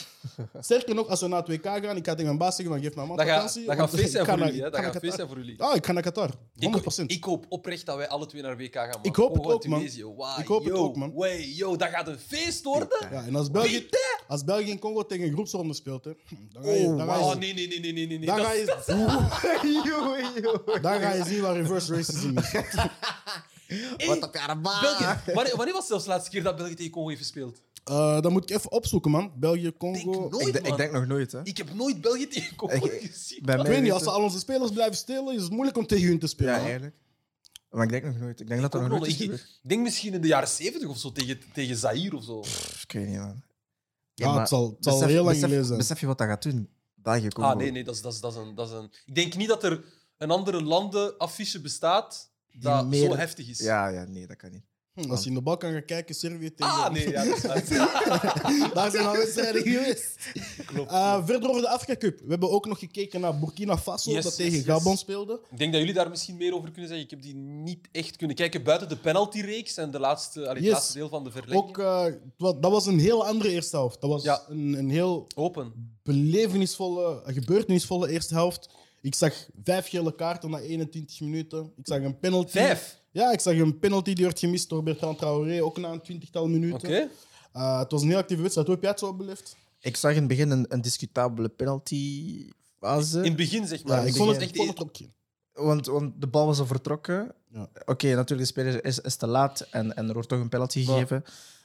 [SPEAKER 2] Sterker nog, als we naar 2K gaan, ik ga tegen mijn baas zeggen, van, geef mijn man
[SPEAKER 3] Dat gaat
[SPEAKER 2] vakantie.
[SPEAKER 3] dat gaat
[SPEAKER 2] want
[SPEAKER 3] feest zijn
[SPEAKER 2] ik ga
[SPEAKER 3] voor
[SPEAKER 2] naar-
[SPEAKER 3] jullie. hè.
[SPEAKER 2] ik
[SPEAKER 3] Dat
[SPEAKER 2] ga
[SPEAKER 3] gaat
[SPEAKER 2] naar
[SPEAKER 3] feest zijn voor jullie.
[SPEAKER 2] Qatar. Ah, ik ga naar Qatar. 100%.
[SPEAKER 3] Ik, ik hoop oprecht dat wij alle twee naar WK gaan. Man.
[SPEAKER 2] Ik hoop het
[SPEAKER 3] Congo en
[SPEAKER 2] ook, man.
[SPEAKER 3] Tunesië. Wauw,
[SPEAKER 2] Ik hoop het
[SPEAKER 3] yo,
[SPEAKER 2] ook, man.
[SPEAKER 3] Way, yo, dat gaat een feest worden.
[SPEAKER 2] ja, en als België, als België in Congo tegen een groepsronde speelt, hè, hm, dan ga je,
[SPEAKER 1] Oh,
[SPEAKER 2] dan ga je,
[SPEAKER 3] Oh, nee, nee, nee, nee, nee. nee.
[SPEAKER 2] dan
[SPEAKER 3] Dat- Oh,
[SPEAKER 2] ga je,
[SPEAKER 3] <laughs>
[SPEAKER 2] <laughs> dan ga je zien waar reverse racism is.
[SPEAKER 3] Hey,
[SPEAKER 1] Wat op je arma.
[SPEAKER 3] België. Wanneer, wanneer was het zelfs de laatste keer dat België tegen Congo heeft gespeeld?
[SPEAKER 2] Eh, dat moet ik even opzoeken, man. België,
[SPEAKER 3] Denk
[SPEAKER 2] Congo.
[SPEAKER 3] nooit,
[SPEAKER 1] Ik, denk-
[SPEAKER 3] man.
[SPEAKER 1] ik denk nog nooit, hè.
[SPEAKER 3] Ik heb nooit België tegen Congo
[SPEAKER 1] Ik-
[SPEAKER 3] gezien.
[SPEAKER 1] Bij
[SPEAKER 2] Ik
[SPEAKER 1] mij
[SPEAKER 2] weet niet, als
[SPEAKER 1] weten-
[SPEAKER 2] ze al onze spelers blijven stelen, is het moeilijk om tegen hun te spelen.
[SPEAKER 1] Ja,
[SPEAKER 2] hè?
[SPEAKER 1] eigenlijk. Maar ik denk nog nooit. Ik denk dat
[SPEAKER 3] Ik
[SPEAKER 1] er nog
[SPEAKER 3] ook
[SPEAKER 1] nooit
[SPEAKER 3] nog.
[SPEAKER 1] is
[SPEAKER 3] Ik-
[SPEAKER 1] gebeurd.
[SPEAKER 3] ik denk misschien in de jaren 70 of zo tegen, tegen Zaire of zo.
[SPEAKER 1] Pff, Ik weet niet, man.
[SPEAKER 2] Ja,
[SPEAKER 1] maar
[SPEAKER 2] het zal, het zal
[SPEAKER 1] besef-
[SPEAKER 2] heel lang
[SPEAKER 1] besef-
[SPEAKER 2] geleden zijn.
[SPEAKER 1] Besef je wat dat gaat doen? België, Congo.
[SPEAKER 3] Ah, nee, nee, dat is, dat, is, dat, is een, dat is een. Ik denk niet dat er een andere landenaffiche bestaat dat
[SPEAKER 1] meer-
[SPEAKER 3] zo heftig is.
[SPEAKER 1] Ja, ja, nee, dat kan niet.
[SPEAKER 2] Hm, Als je in de bal kan gaan kijken, Servië tegen...
[SPEAKER 3] Ah, nee, ja, dat is waar.
[SPEAKER 2] <laughs> Daar zijn al wedstrijden geweest. Klopt. verder over de Afrika Cup. We hebben ook nog gekeken naar Burkina Faso,
[SPEAKER 3] Yes,
[SPEAKER 2] dat
[SPEAKER 3] yes,
[SPEAKER 2] tegen
[SPEAKER 3] yes.
[SPEAKER 2] Gabon speelde.
[SPEAKER 3] Ik denk dat jullie daar misschien meer over kunnen zeggen. Ik heb die niet echt kunnen kijken buiten de penaltyreeks en de laatste, allee, het
[SPEAKER 2] Yes.
[SPEAKER 3] laatste deel van de verlenging.
[SPEAKER 2] Ook, eh, het wa- dat was een heel andere eerste helft. Dat was
[SPEAKER 3] Ja.
[SPEAKER 2] een, een heel
[SPEAKER 3] Open.
[SPEAKER 2] belevenisvolle, gebeurtenisvolle eerste helft. Ik zag vijf gele kaarten na 21 minuten. Ik zag een penalty.
[SPEAKER 3] Vijf.
[SPEAKER 2] Ja, ik zag een penalty die werd gemist door Bertrand Traoré, ook na een twintigtal minuten.
[SPEAKER 3] Oké.
[SPEAKER 2] Eh, het was een heel actieve wedstrijd. Hoe heb jij het zo beleefd?
[SPEAKER 1] Ik zag in het begin een, een discutabele penaltyfase.
[SPEAKER 3] In het begin, zeg maar.
[SPEAKER 2] Ja, ik vond het,
[SPEAKER 3] echt
[SPEAKER 2] ik vond het ook geen.
[SPEAKER 1] Want, want de bal was al vertrokken.
[SPEAKER 2] Ja.
[SPEAKER 1] Oké, natuurlijk, de speler is, is te laat en, en er wordt toch een penalty
[SPEAKER 3] Maar-
[SPEAKER 1] gegeven.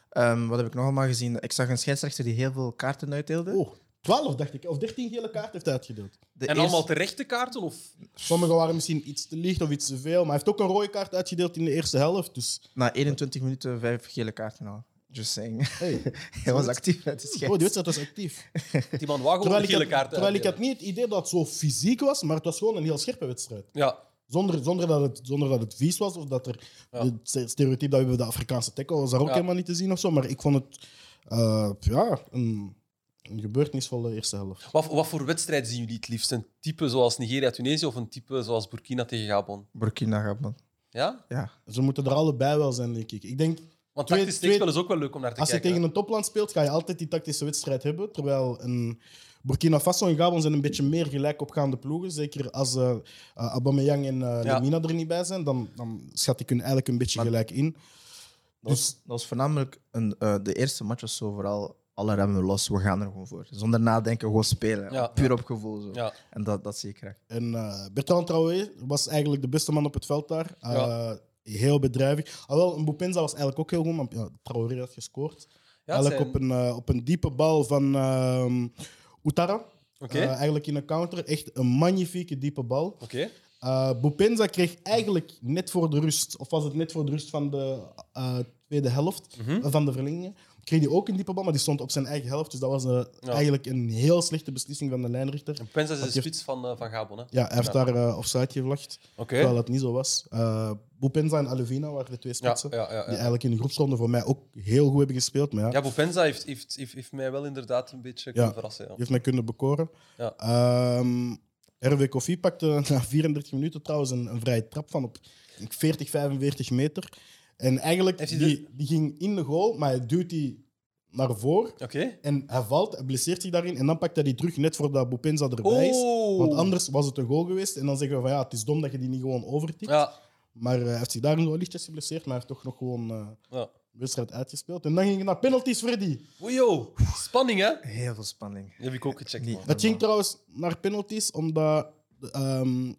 [SPEAKER 1] Ehm, wat heb ik nog allemaal gezien? Ik zag een scheidsrechter die heel veel kaarten uitdeelde.
[SPEAKER 2] Oh, 12 dacht ik, of 13 gele kaarten heeft hij uitgedeeld.
[SPEAKER 1] De
[SPEAKER 3] En
[SPEAKER 1] eerste-
[SPEAKER 3] allemaal terechte kaarten? Of...
[SPEAKER 2] Sommigen waren misschien iets te licht of iets te veel, maar hij heeft ook een rode kaart uitgedeeld in de eerste helft. Dus
[SPEAKER 1] Na 21 minuten vijf gele kaarten al. Just saying. <laughs>
[SPEAKER 3] <laughs>
[SPEAKER 2] hey,
[SPEAKER 1] Hij was actief met de
[SPEAKER 2] bro, die
[SPEAKER 1] scheids.
[SPEAKER 2] wedstrijd was actief.
[SPEAKER 3] Die man wou gewoon
[SPEAKER 2] Terwijl,
[SPEAKER 3] een
[SPEAKER 2] ik
[SPEAKER 3] Oh, gele
[SPEAKER 2] had,
[SPEAKER 3] kaart
[SPEAKER 2] terwijl ik had
[SPEAKER 3] uitdelen.
[SPEAKER 2] niet het idee dat het zo fysiek was, maar het was gewoon een heel scherpe wedstrijd.
[SPEAKER 3] Ja.
[SPEAKER 2] Zonder, zonder, dat, het, zonder dat het vies was of dat er
[SPEAKER 3] Ja.
[SPEAKER 2] het ste- stereotype dat we hebben, de Afrikaanse tackle, was daar ook
[SPEAKER 3] Ja.
[SPEAKER 2] helemaal niet te zien of zo. Maar ik vond het eh, ja, een, een gebeurtenisvolle eerste helft.
[SPEAKER 3] Wat, wat voor wedstrijd zien jullie het liefst? Een type zoals Nigeria-Tunesië of een type zoals Burkina tegen Gabon?
[SPEAKER 1] Burkina gaat man.
[SPEAKER 3] Ja?
[SPEAKER 1] Ja.
[SPEAKER 2] Ze moeten er allebei wel zijn, denk ik. Ik denk
[SPEAKER 3] Want
[SPEAKER 2] Twee-
[SPEAKER 3] tactisch
[SPEAKER 2] twee-
[SPEAKER 3] steekspel is ook wel leuk om naar te
[SPEAKER 2] Als je
[SPEAKER 3] kijken.
[SPEAKER 2] tegen een topland speelt, ga je altijd die tactische wedstrijd hebben. Terwijl een Burkina Faso en Gabon zijn een beetje meer gelijk opgaande ploegen. Zeker als eh eh, Aubameyang en eh
[SPEAKER 3] Ja.
[SPEAKER 2] Lemina er niet bij zijn, dan, dan schat ik hun eigenlijk een beetje gelijk in.
[SPEAKER 1] Dat, was, Dus dat was voornamelijk een, eh, de eerste match was zo vooral alle remmen los, we gaan er gewoon voor. Zonder nadenken, gewoon spelen.
[SPEAKER 3] Ja.
[SPEAKER 1] Puur op gevoel. Zo.
[SPEAKER 3] Ja.
[SPEAKER 1] En dat, dat zie ik graag.
[SPEAKER 2] En eh, Bertrand Traoré was eigenlijk de beste man op het veld daar. Eh,
[SPEAKER 3] Ja.
[SPEAKER 2] Heel bedrijvig. Alhoewel, Mbupenza was eigenlijk ook heel goed, maar ja, Traoré had gescoord.
[SPEAKER 3] Ja, het
[SPEAKER 2] eigenlijk op,
[SPEAKER 3] zijn-
[SPEAKER 2] een, eh, op een diepe bal van ehm Utara.
[SPEAKER 3] Oké.
[SPEAKER 2] Eh, eigenlijk in een counter. Echt een magnifieke diepe bal.
[SPEAKER 3] Oké.
[SPEAKER 2] Eh Bupenza kreeg eigenlijk net voor de rust, of was het net voor de rust van de eh, tweede helft
[SPEAKER 3] Mhm.
[SPEAKER 2] eh, van de verlengingen, kreeg hij ook een diepe bal, maar die stond op zijn eigen helft. Dus dat was eh,
[SPEAKER 3] Ja.
[SPEAKER 2] eigenlijk een heel slechte beslissing van de lijnrichter.
[SPEAKER 3] En Penza is de
[SPEAKER 2] Want je-
[SPEAKER 3] spits van, eh, van Gabon, hè? Oké.
[SPEAKER 2] Ja, hij heeft daar eh, offside gevlacht, terwijl dat niet zo was. Eh Bupenza en Alevina waren de twee
[SPEAKER 3] Ja,
[SPEAKER 2] spitsen.
[SPEAKER 3] ja, ja,
[SPEAKER 2] Die
[SPEAKER 3] ja.
[SPEAKER 2] eigenlijk in de groepsronde voor mij ook heel goed hebben gespeeld. Maar ja,
[SPEAKER 3] Ja, Bovenza heeft, heeft, heeft, heeft mij wel inderdaad een beetje kunnen verrassen. Ja.
[SPEAKER 2] Die heeft mij kunnen bekoren.
[SPEAKER 3] Ja.
[SPEAKER 2] Ehm, RW Koffie pakte <laughs> na 34 minuten trouwens een, een vrije trap van op ik denk, 40, 45 meter. En eigenlijk,
[SPEAKER 3] Heeft
[SPEAKER 2] die,
[SPEAKER 3] hij
[SPEAKER 2] die, ging in de goal, maar hij duwt die naar voren.
[SPEAKER 3] Oké.
[SPEAKER 2] En hij valt, hij blesseert zich daarin. En dan pakt hij die terug net voordat Bopenza erbij is.
[SPEAKER 3] Oh!
[SPEAKER 2] Want anders was het een goal geweest. En dan zeggen we van ja, het is dom dat je die niet gewoon overtikt.
[SPEAKER 3] Ja,
[SPEAKER 2] Maar eh, hij heeft zich daarin wel lichtjes geblesseerd. Maar hij heeft toch nog gewoon eh,
[SPEAKER 3] ja.
[SPEAKER 2] de wedstrijd uitgespeeld. En dan ging het naar penalties, Freddy.
[SPEAKER 3] Oei, yo. Spanning, hè?
[SPEAKER 1] Heel veel spanning.
[SPEAKER 3] Die heb ik ook gecheckt,
[SPEAKER 1] Niet.
[SPEAKER 3] man.
[SPEAKER 2] Het ging trouwens naar penalties, omdat ehm,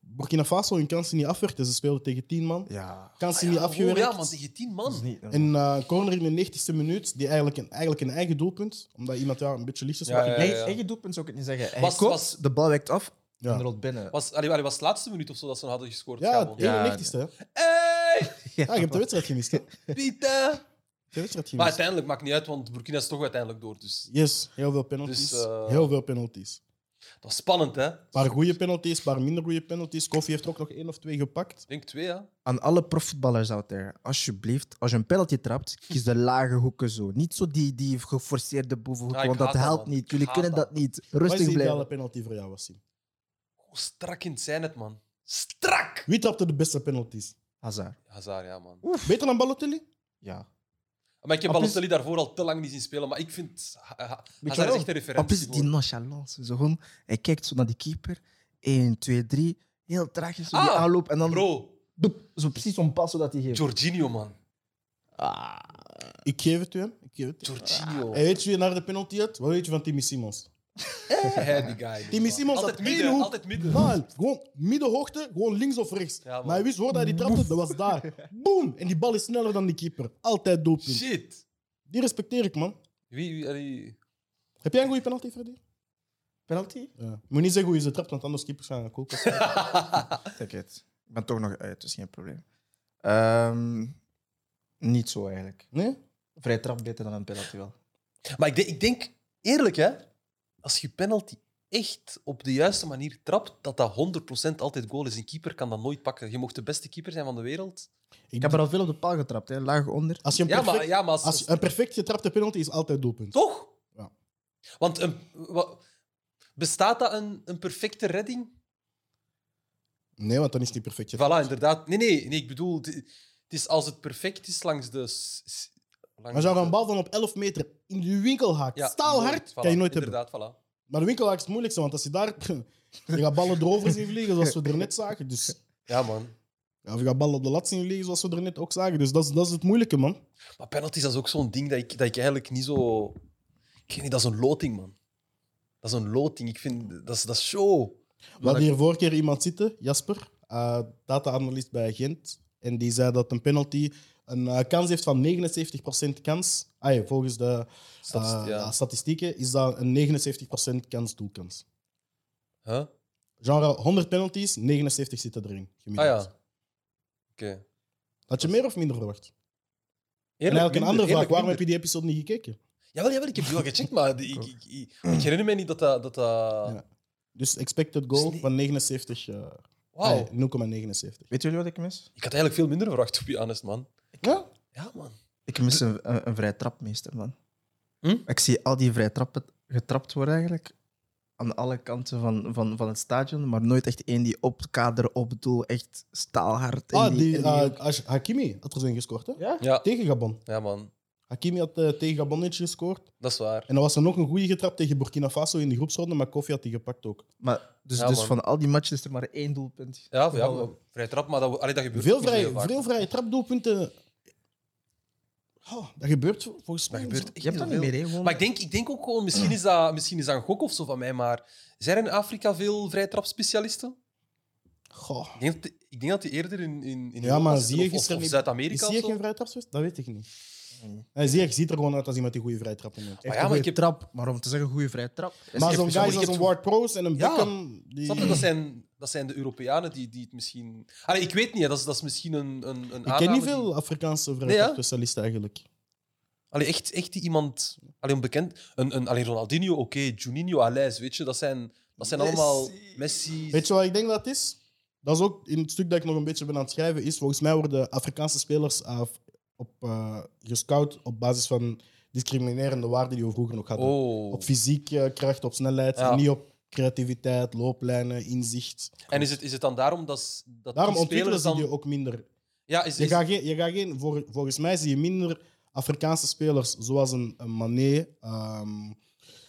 [SPEAKER 2] Burkina Faso hun kansen niet afwerkte. Ze speelden tegen 10 man.
[SPEAKER 1] Ja.
[SPEAKER 2] Kansen
[SPEAKER 3] Ah,
[SPEAKER 2] niet
[SPEAKER 3] ja,
[SPEAKER 2] afgewerkt.
[SPEAKER 3] Oh, ja, want tegen tien
[SPEAKER 1] Dat is
[SPEAKER 3] man.
[SPEAKER 1] niet normaal.
[SPEAKER 2] En eh, een corner in de 90ste minuut, die eigenlijk een, eigenlijk een eigen doelpunt, omdat iemand daar een beetje licht is.
[SPEAKER 3] Ja,
[SPEAKER 2] maar-
[SPEAKER 3] ja,
[SPEAKER 1] Nee, eigen doelpunt zou ik het niet zeggen. Hij
[SPEAKER 3] Was-
[SPEAKER 1] kopt,
[SPEAKER 3] was-
[SPEAKER 1] de bal wijkt af
[SPEAKER 2] Ja.
[SPEAKER 1] en rolt binnen.
[SPEAKER 3] Was, allee, allee, was het laatste minuut of zo dat ze hadden gescoord?
[SPEAKER 2] Ja,
[SPEAKER 3] Gabon?
[SPEAKER 2] de 91ste. hè.
[SPEAKER 3] Hey,
[SPEAKER 2] Ja, je hebt de wedstrijd gemist. hè. Je hebt <laughs>
[SPEAKER 3] Pieter!
[SPEAKER 2] de wedstrijd
[SPEAKER 3] Maar
[SPEAKER 2] gemist.
[SPEAKER 3] uiteindelijk maakt niet uit, want Burkina is toch uiteindelijk door. Dus
[SPEAKER 2] Yes, heel veel penalties.
[SPEAKER 3] Dus, eh,
[SPEAKER 2] Heel veel penalties.
[SPEAKER 3] dat was spannend, hè?
[SPEAKER 2] Een paar goede penalties, een paar minder goede penalties. Koffie heeft er ook nog één of twee gepakt.
[SPEAKER 3] Ik denk twee, hè?
[SPEAKER 1] Aan alle profvoetballers out there, alsjeblieft, als je een penalty trapt, kies de lage hoeken zo. Niet zo die, die geforceerde bovenhoeken,
[SPEAKER 3] Ja, ik
[SPEAKER 1] want dat
[SPEAKER 3] haat dat,
[SPEAKER 1] helpt
[SPEAKER 3] man. Ik
[SPEAKER 1] niet. Jullie
[SPEAKER 3] haat
[SPEAKER 1] kunnen
[SPEAKER 3] dat.
[SPEAKER 1] dat niet.
[SPEAKER 2] Wat is
[SPEAKER 1] Rustig
[SPEAKER 2] de
[SPEAKER 1] blijven.
[SPEAKER 2] ideale penalty voor jou, Wassim?
[SPEAKER 3] Hoe Oh, strak in het zijn het, man. Strak!
[SPEAKER 2] Wie trapte de beste penalties?
[SPEAKER 1] Hazard.
[SPEAKER 3] Hazard, ja, man.
[SPEAKER 2] Beter dan Balotelli?
[SPEAKER 1] Ja.
[SPEAKER 3] Maar ik heb
[SPEAKER 1] Op is-
[SPEAKER 3] Balotelli daarvoor al te lang niet zien spelen, maar ik vind Ha- Ha- Hazard is
[SPEAKER 1] wel?
[SPEAKER 3] echt een
[SPEAKER 1] Maar
[SPEAKER 3] referentie.
[SPEAKER 1] precies die nonchalance. Zo gewoon, hij kijkt zo naar die keeper. 1, 2, 3. Heel traagjes zo die
[SPEAKER 3] Ah,
[SPEAKER 1] aanloop. En dan
[SPEAKER 3] voor- Bro,
[SPEAKER 1] doep, zo precies zo'n pas zodat hij geeft.
[SPEAKER 3] Jorginho, man.
[SPEAKER 2] Ik geef het u, hem. Ik geef het u.
[SPEAKER 3] Jorginho.
[SPEAKER 2] Hey, weet je wie naar de penalty had? Wat weet je van Timmy Simons?
[SPEAKER 3] Hey, die guy.
[SPEAKER 2] Timmy Simons
[SPEAKER 3] altijd
[SPEAKER 2] had één
[SPEAKER 3] midden,
[SPEAKER 2] hoek.
[SPEAKER 3] altijd midden.
[SPEAKER 2] Man, gewoon middenhoogte, gewoon links of rechts.
[SPEAKER 3] Ja, man.
[SPEAKER 2] maar hij wist waar hij die trapte, dat was daar. Boom! En die bal is sneller dan die keeper. Altijd doelpunt.
[SPEAKER 3] Shit.
[SPEAKER 2] Die respecteer ik, man.
[SPEAKER 3] Wie, wie, allee.
[SPEAKER 2] Heb jij een goede penalty, Freddy?
[SPEAKER 1] penalty?
[SPEAKER 2] Ja. Moet niet zeggen hoe je ze trapt, want anders keepers gaan koken.
[SPEAKER 3] Ah,
[SPEAKER 1] Kijk het. Ik ben toch nog uit, dus geen probleem. Ehm, niet zo eigenlijk.
[SPEAKER 2] Nee?
[SPEAKER 1] Vrij trap beter dan een penalty wel.
[SPEAKER 3] Maar ik, denk- ik denk, eerlijk hè, als je penalty echt op de juiste manier trapt, dat dat 100% altijd goal is. Een keeper kan dat nooit pakken. Je mocht de beste keeper zijn van de wereld.
[SPEAKER 1] Ik heb er al veel op de paal getrapt, hè. laag onder.
[SPEAKER 2] Als je een
[SPEAKER 3] Ja,
[SPEAKER 2] perfect,
[SPEAKER 3] maar, ja, maar als-
[SPEAKER 2] als je- een perfect getrapte penalty is altijd doelpunt.
[SPEAKER 3] Toch?
[SPEAKER 2] Ja.
[SPEAKER 3] Want een, wa- bestaat dat een, een perfecte redding?
[SPEAKER 2] Nee, want dan is het niet perfect getrapt.
[SPEAKER 3] Voilà, inderdaad. Nee, nee, nee ik bedoel, het het is als het perfect is langs de. s- s- Langs
[SPEAKER 2] Maar als je
[SPEAKER 3] de-
[SPEAKER 2] een bal van op 11 meter in de winkel haakt,
[SPEAKER 3] Ja,
[SPEAKER 2] staalhard,
[SPEAKER 3] nooit, voilà,
[SPEAKER 2] kan je nooit hebben.
[SPEAKER 3] inderdaad, Voilà.
[SPEAKER 2] Maar de winkelhaak is het moeilijkste, want als je daar... <laughs> Je gaat ballen erover zien vliegen, zoals we er net zagen. Dus,
[SPEAKER 3] Ja, man.
[SPEAKER 2] ja, of je gaat ballen op de lat zien vliegen, zoals we er net ook zagen. Dus dat is, dat is het moeilijke, man.
[SPEAKER 3] Maar penalties, dat is ook zo'n ding dat ik, dat ik eigenlijk niet zo... Ik weet niet, dat is een loting, man. Dat is een loting. Ik vind... Dat is, dat is show.
[SPEAKER 2] We hadden hier vorige keer iemand zitten, Jasper, eh data-analyst bij Gent. En die zei dat een penalty een eh, kans heeft van 79% kans. Ah, ja, volgens de eh,
[SPEAKER 3] Statist- ja.
[SPEAKER 2] statistieken is dat een 79% kans doelkans.
[SPEAKER 3] Huh? Ah
[SPEAKER 2] Genre 100 penalties, 79 zitten erin. Gemiddeld.
[SPEAKER 3] Ah, ja. Oké.
[SPEAKER 2] Had je meer of minder verwacht? En
[SPEAKER 3] Eerlijk
[SPEAKER 2] eigenlijk een
[SPEAKER 3] minder,
[SPEAKER 2] andere vraag.
[SPEAKER 3] eerlijk
[SPEAKER 2] Waarom heb
[SPEAKER 3] minder.
[SPEAKER 2] je die episode niet gekeken?
[SPEAKER 3] Jawel, jawel, ik heb die wel gecheckt, maar die- ik, ik, ik, ik herinner me niet dat dat... dat, dat...
[SPEAKER 2] Ja. Dus expected goal
[SPEAKER 3] Is niet-
[SPEAKER 2] van 79. eh
[SPEAKER 3] Wauw.
[SPEAKER 2] nee, 0,79.
[SPEAKER 1] Weet jullie wat ik mis?
[SPEAKER 3] Ik had eigenlijk veel minder verwacht, to be honest, man.
[SPEAKER 2] Ja?
[SPEAKER 3] Ja, man.
[SPEAKER 1] Ik mis een, een, een vrij trapmeester, man.
[SPEAKER 3] Hm?
[SPEAKER 1] Ik zie al die vrij trappen getrapt worden eigenlijk aan alle kanten van, van, van het stadion, maar nooit echt één die op het kader, op het doel, echt staalhard. in
[SPEAKER 2] Ah,
[SPEAKER 1] die-
[SPEAKER 2] die,
[SPEAKER 1] in die
[SPEAKER 2] eh,
[SPEAKER 1] hoek.
[SPEAKER 2] Ash- Hakimi had er zijn gescoord, hè?
[SPEAKER 3] Ja,
[SPEAKER 2] Tegen Gabon.
[SPEAKER 3] ja, man.
[SPEAKER 2] Hakimi had eh, tegen Gabonnetje gescoord.
[SPEAKER 3] Dat is waar.
[SPEAKER 2] En dan was er nog een goede getrapt tegen Burkina Faso in de groepsronde, maar Kofi had die gepakt ook.
[SPEAKER 1] maar, dus
[SPEAKER 3] Ja,
[SPEAKER 1] dus
[SPEAKER 3] man.
[SPEAKER 1] van al die matches is er maar één doelpunt.
[SPEAKER 3] Ja, ja
[SPEAKER 1] gevallen.
[SPEAKER 3] maar vrij trap, maar dat, allee, dat gebeurt
[SPEAKER 2] Veel
[SPEAKER 3] ook niet zo
[SPEAKER 2] vrije,
[SPEAKER 3] heel vaak.
[SPEAKER 2] veel vrije trapdoelpunten. Oh, dat gebeurt volgens mij.
[SPEAKER 3] Dat
[SPEAKER 2] niet zo.
[SPEAKER 3] gebeurt echt
[SPEAKER 1] Je hebt dat niet
[SPEAKER 3] zoveel.
[SPEAKER 1] meer, hè, gewoon.
[SPEAKER 3] Maar ik denk, ik denk ook gewoon, misschien is, dat, misschien is dat een gok of zo van mij, maar zijn er in Afrika veel vrijtrapspecialisten?
[SPEAKER 2] Goh.
[SPEAKER 3] Ik denk dat, ik denk dat die eerder in, in, in
[SPEAKER 2] Ja,
[SPEAKER 3] Europa
[SPEAKER 2] maar zie
[SPEAKER 3] zitten,
[SPEAKER 2] je
[SPEAKER 3] of- of,
[SPEAKER 2] gisteren
[SPEAKER 3] of
[SPEAKER 2] niet- Is
[SPEAKER 3] Zuid-Amerika of
[SPEAKER 2] hier
[SPEAKER 3] zo.
[SPEAKER 2] geen vrije trapswist? Dat weet ik niet. Nee, zie je ziet er gewoon uit als iemand die goede vrije trappen heeft.
[SPEAKER 1] Echt
[SPEAKER 3] Hmm. maar
[SPEAKER 1] een
[SPEAKER 3] ja, maar ik
[SPEAKER 1] goeie
[SPEAKER 3] heb-
[SPEAKER 1] trap, maar om te zeggen goede vrij trap. is
[SPEAKER 2] Maar
[SPEAKER 1] niet
[SPEAKER 2] zo'n
[SPEAKER 1] even
[SPEAKER 2] guys
[SPEAKER 3] ik
[SPEAKER 2] als
[SPEAKER 3] heb
[SPEAKER 2] een
[SPEAKER 3] het
[SPEAKER 2] Ward Prowse en een
[SPEAKER 3] Ja.
[SPEAKER 2] Beckham... Die...
[SPEAKER 3] Snap je? Dat zijn, dat zijn de Europeanen die, die het misschien... Allee, ik weet niet, hè. dat is, dat is misschien een, een, een
[SPEAKER 2] Ik ken
[SPEAKER 3] aanname
[SPEAKER 2] niet
[SPEAKER 3] die-
[SPEAKER 2] veel Afrikaanse
[SPEAKER 3] Ah, Nee, ja?
[SPEAKER 2] specialisten eigenlijk.
[SPEAKER 3] Allee, echt, echt die iemand... Allee, onbekend. Een, een, allee, Ronaldinho, oké. Juninho, Alex, weet je. Dat zijn, dat zijn allemaal... Messi.
[SPEAKER 2] Weet je wat ik denk dat het is? Dat is ook in het stuk dat ik nog een beetje ben aan het schrijven. Is volgens mij worden Afrikaanse spelers af- op, eh, gescout op basis van discriminerende waarden die we vroeger nog hadden.
[SPEAKER 3] Oh.
[SPEAKER 2] Op fysiek eh, kracht, op snelheid,
[SPEAKER 3] Ja.
[SPEAKER 2] en niet op creativiteit, looplijnen, inzicht.
[SPEAKER 3] En is het, is het dan daarom dat, s- dat
[SPEAKER 2] Daarom
[SPEAKER 3] die
[SPEAKER 2] ontwikkelen
[SPEAKER 3] spelers
[SPEAKER 2] ze
[SPEAKER 3] dan...
[SPEAKER 2] die ook minder.
[SPEAKER 3] Ja, is,
[SPEAKER 2] Je
[SPEAKER 3] is,
[SPEAKER 2] gaat geen, je gaat geen, vol- volgens mij zie je minder Afrikaanse spelers zoals een, een Mané, ehm,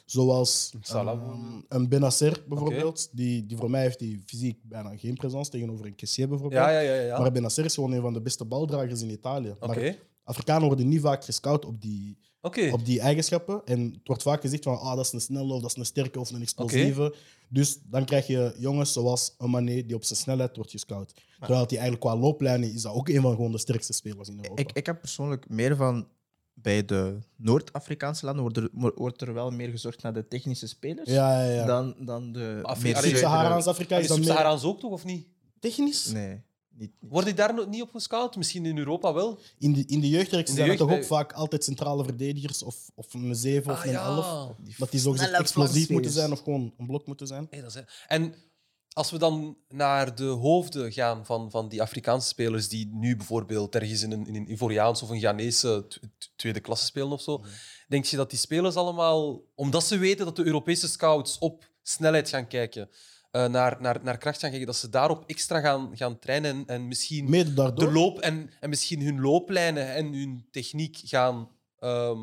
[SPEAKER 2] zoals
[SPEAKER 3] Een Salah.
[SPEAKER 2] ehm, een Benacer bijvoorbeeld. Die, die voor mij heeft die fysiek bijna geen presence tegenover een Kessier bijvoorbeeld.
[SPEAKER 3] ja, ja, ja. ja.
[SPEAKER 2] Maar Benacer is gewoon een van de beste baldragers in Italië.
[SPEAKER 3] Oké.
[SPEAKER 2] Maar Afrikanen worden niet vaak gescout op die,
[SPEAKER 3] Oké.
[SPEAKER 2] op die eigenschappen. En het wordt vaak gezegd van ah, dat is een snelle of dat is een sterke of een explosieve. Dus dan krijg je jongens zoals een Mané die op zijn snelheid wordt gescout. Terwijl die eigenlijk qua looplijnen is dat ook een van gewoon de sterkste spelers in Europa.
[SPEAKER 1] Ik, ik heb persoonlijk meer van bij de Noord-Afrikaanse landen wordt er, wordt er wel meer gezorgd naar de technische spelers
[SPEAKER 2] ja, ja, ja.
[SPEAKER 1] dan, dan de
[SPEAKER 3] Afri-
[SPEAKER 1] meer zuidere-
[SPEAKER 3] Allee,
[SPEAKER 2] Sub-Saharaans Afrika
[SPEAKER 3] Allee,
[SPEAKER 2] is dan meer
[SPEAKER 3] Sub-Saharaans ook toch, of niet?
[SPEAKER 2] technisch.
[SPEAKER 1] Nee, niet. niet.
[SPEAKER 3] Word ik daar nog niet op gescout? Misschien in Europa wel.
[SPEAKER 2] In de, in de jeugdreeks
[SPEAKER 3] In de
[SPEAKER 2] zijn het toch ook
[SPEAKER 3] jeugd-
[SPEAKER 2] vaak altijd centrale verdedigers of, of een 7 of
[SPEAKER 3] Ah,
[SPEAKER 2] een
[SPEAKER 3] ja.
[SPEAKER 2] 11. Dat die zogezegd
[SPEAKER 1] Snelle
[SPEAKER 2] explosief moeten
[SPEAKER 1] flankspelers.
[SPEAKER 2] zijn of gewoon een blok moeten zijn.
[SPEAKER 3] Hey, dat is- En als we dan naar de hoofden gaan van, van die Afrikaanse spelers die nu bijvoorbeeld ergens in een, in een Ivoriaans of een Ghanese t- t- tweede klasse spelen of zo, denk je dat die spelers allemaal, omdat ze weten dat de Europese scouts op snelheid gaan kijken, eh, naar, naar, naar kracht gaan kijken, dat ze daarop extra gaan, gaan trainen en, en misschien
[SPEAKER 2] Mede daardoor.
[SPEAKER 3] de loop en, en misschien hun looplijnen en hun techniek gaan ehm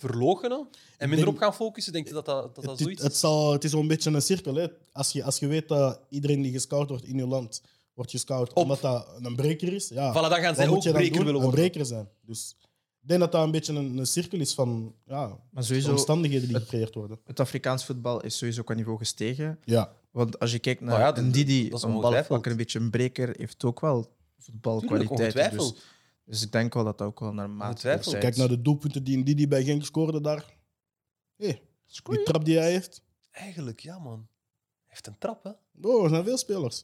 [SPEAKER 3] verlogenen en minder
[SPEAKER 2] denk-
[SPEAKER 3] op gaan focussen, denk je dat dat, dat, dat
[SPEAKER 2] Het, het,
[SPEAKER 3] zoiets
[SPEAKER 2] het zal, het is zo'n beetje een cirkel. Hè. Als, je, als je weet dat iedereen die gescout wordt in je land, wordt gescout omdat dat een breker is. Ja,
[SPEAKER 3] Voilà, dan gaan zij
[SPEAKER 2] wat moet
[SPEAKER 3] ook
[SPEAKER 2] je dan
[SPEAKER 3] breker
[SPEAKER 2] doen?
[SPEAKER 3] willen
[SPEAKER 2] Een
[SPEAKER 3] worden.
[SPEAKER 2] breker zijn. Dus ik denk dat dat een beetje een, een cirkel is van ja,
[SPEAKER 1] Maar sowieso,
[SPEAKER 2] omstandigheden die gecreëerd worden.
[SPEAKER 1] het Afrikaans voetbal is sowieso qua niveau gestegen.
[SPEAKER 2] Ja.
[SPEAKER 1] Want als je kijkt naar
[SPEAKER 3] Nou ja, dat-
[SPEAKER 1] een Didi,
[SPEAKER 3] dat is
[SPEAKER 1] een
[SPEAKER 3] ongetwijfeld.
[SPEAKER 1] ballenpakker, een beetje een breker, heeft ook wel voetbalkwaliteit.
[SPEAKER 3] Tuurlijk,
[SPEAKER 1] Dus,
[SPEAKER 3] ongetwijfeld.
[SPEAKER 1] dus ik denk wel dat dat ook wel naar maat
[SPEAKER 3] Ongetwijfeld.
[SPEAKER 2] Kijk naar de doelpunten die Didi bij Genk scoorde daar. Hé, die trap die hij heeft.
[SPEAKER 3] Eigenlijk, ja, man. Hij heeft een trap, hè?
[SPEAKER 2] Oh, er zijn veel spelers.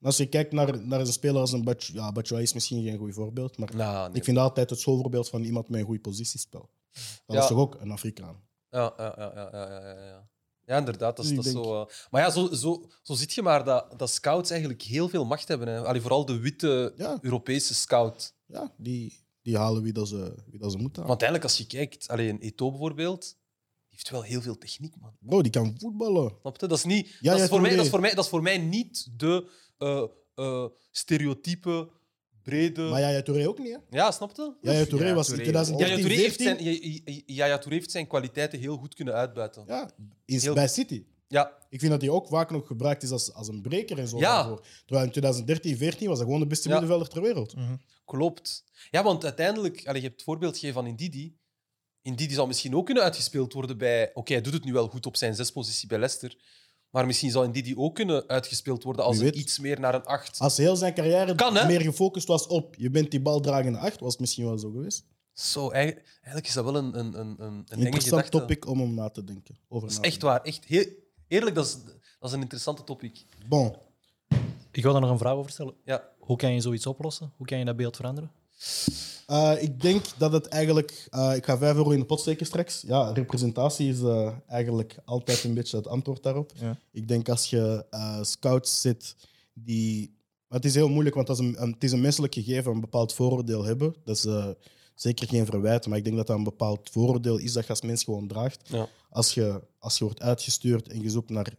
[SPEAKER 2] En Als je kijkt naar, naar een speler als een Batj... Ja, Batshuayi is misschien geen goed voorbeeld, maar
[SPEAKER 3] Nou, nee.
[SPEAKER 2] ik vind dat altijd het schoolvoorbeeld van iemand met een goed positiespel. Dat
[SPEAKER 3] Ja.
[SPEAKER 2] is toch ook een Afrikaan?
[SPEAKER 3] ja, ja, ja, ja, ja, ja, ja, ja. Ja, inderdaad. Dat is,
[SPEAKER 2] Ik
[SPEAKER 3] dat is
[SPEAKER 2] denk-
[SPEAKER 3] zo, eh, maar ja, zo, zo, zo zit je maar dat, dat scouts eigenlijk heel veel macht hebben. Hè. Allee, vooral de witte
[SPEAKER 2] Ja.
[SPEAKER 3] Europese scout.
[SPEAKER 2] Ja, die, die halen wie dat ze, wie dat ze moeten halen.
[SPEAKER 3] Want eigenlijk, als je kijkt, alleen Eto'o bijvoorbeeld, die heeft wel heel veel techniek, man.
[SPEAKER 2] Bro, die kan voetballen.
[SPEAKER 3] Snap je? Dat is, niet,
[SPEAKER 2] Ja,
[SPEAKER 3] dat,
[SPEAKER 2] ja,
[SPEAKER 3] is voor mij,
[SPEAKER 2] tuurlijk.
[SPEAKER 3] dat, is voor mij, dat is voor mij niet de eh, eh, stereotype, brede...
[SPEAKER 2] Maar
[SPEAKER 3] Ja,
[SPEAKER 2] Jaya Touré ook niet, hè?
[SPEAKER 3] snap je?
[SPEAKER 2] Jaya Touré
[SPEAKER 1] Ja,
[SPEAKER 2] was in
[SPEAKER 1] Touré.
[SPEAKER 2] 2013,
[SPEAKER 3] Yaya Touré heeft
[SPEAKER 2] 14,
[SPEAKER 3] zijn, Yaya Touré heeft zijn kwaliteiten heel goed kunnen uitbuiten.
[SPEAKER 2] ja, is
[SPEAKER 3] Heel-
[SPEAKER 2] bij City.
[SPEAKER 3] Ja,
[SPEAKER 2] Ik vind dat hij ook vaak nog gebruikt is als, als een breker en zo.
[SPEAKER 3] Ja.
[SPEAKER 2] daarvoor. Terwijl in 2013, 14 was hij gewoon de beste
[SPEAKER 3] Ja.
[SPEAKER 2] middenvelder ter wereld.
[SPEAKER 1] Mhm.
[SPEAKER 3] Klopt. Ja, want uiteindelijk, allee, je hebt het voorbeeld gegeven van Indidi. Indidi zou misschien ook kunnen uitgespeeld worden bij. Oké, hij doet het nu wel goed op zijn zespositie bij Leicester. Maar misschien zou Indidi ook kunnen uitgespeeld worden als
[SPEAKER 2] Wie
[SPEAKER 3] hij
[SPEAKER 2] weet. Ah.
[SPEAKER 3] iets meer naar een acht.
[SPEAKER 2] Als heel zijn carrière
[SPEAKER 3] Kan, hè?
[SPEAKER 2] meer gefocust was op je bent die baldragende acht, was het misschien wel zo geweest.
[SPEAKER 3] Zo, eigenlijk, eigenlijk is dat wel een, een, een, een
[SPEAKER 2] Een
[SPEAKER 3] enge
[SPEAKER 2] interessant
[SPEAKER 3] gedachte.
[SPEAKER 2] topic om om na te denken. Over
[SPEAKER 3] Dat is
[SPEAKER 2] na te
[SPEAKER 3] echt waar. Echt heel, eerlijk, dat is, dat is een interessante topic.
[SPEAKER 2] denken. Bon,
[SPEAKER 4] Ik wil daar nog een vraag over stellen.
[SPEAKER 3] Ja. Ah,
[SPEAKER 4] Hoe kan je zoiets oplossen? Hoe kan je dat beeld veranderen?
[SPEAKER 2] Eh, ik denk dat het eigenlijk. eh, ik ga 5 euro in de pot steken straks. Ja, representatie is eh, eigenlijk altijd een beetje het antwoord daarop.
[SPEAKER 1] Ja.
[SPEAKER 2] Ik denk als je eh, scouts zit die. maar het is heel moeilijk, want dat is een, een- het is een menselijk gegeven, een bepaald vooroordeel hebben. Dat is eh, zeker geen verwijt, maar ik denk dat dat een bepaald vooroordeel is dat je als mens gewoon draagt.
[SPEAKER 3] Ja.
[SPEAKER 2] Als, je, als je wordt uitgestuurd en je zoekt naar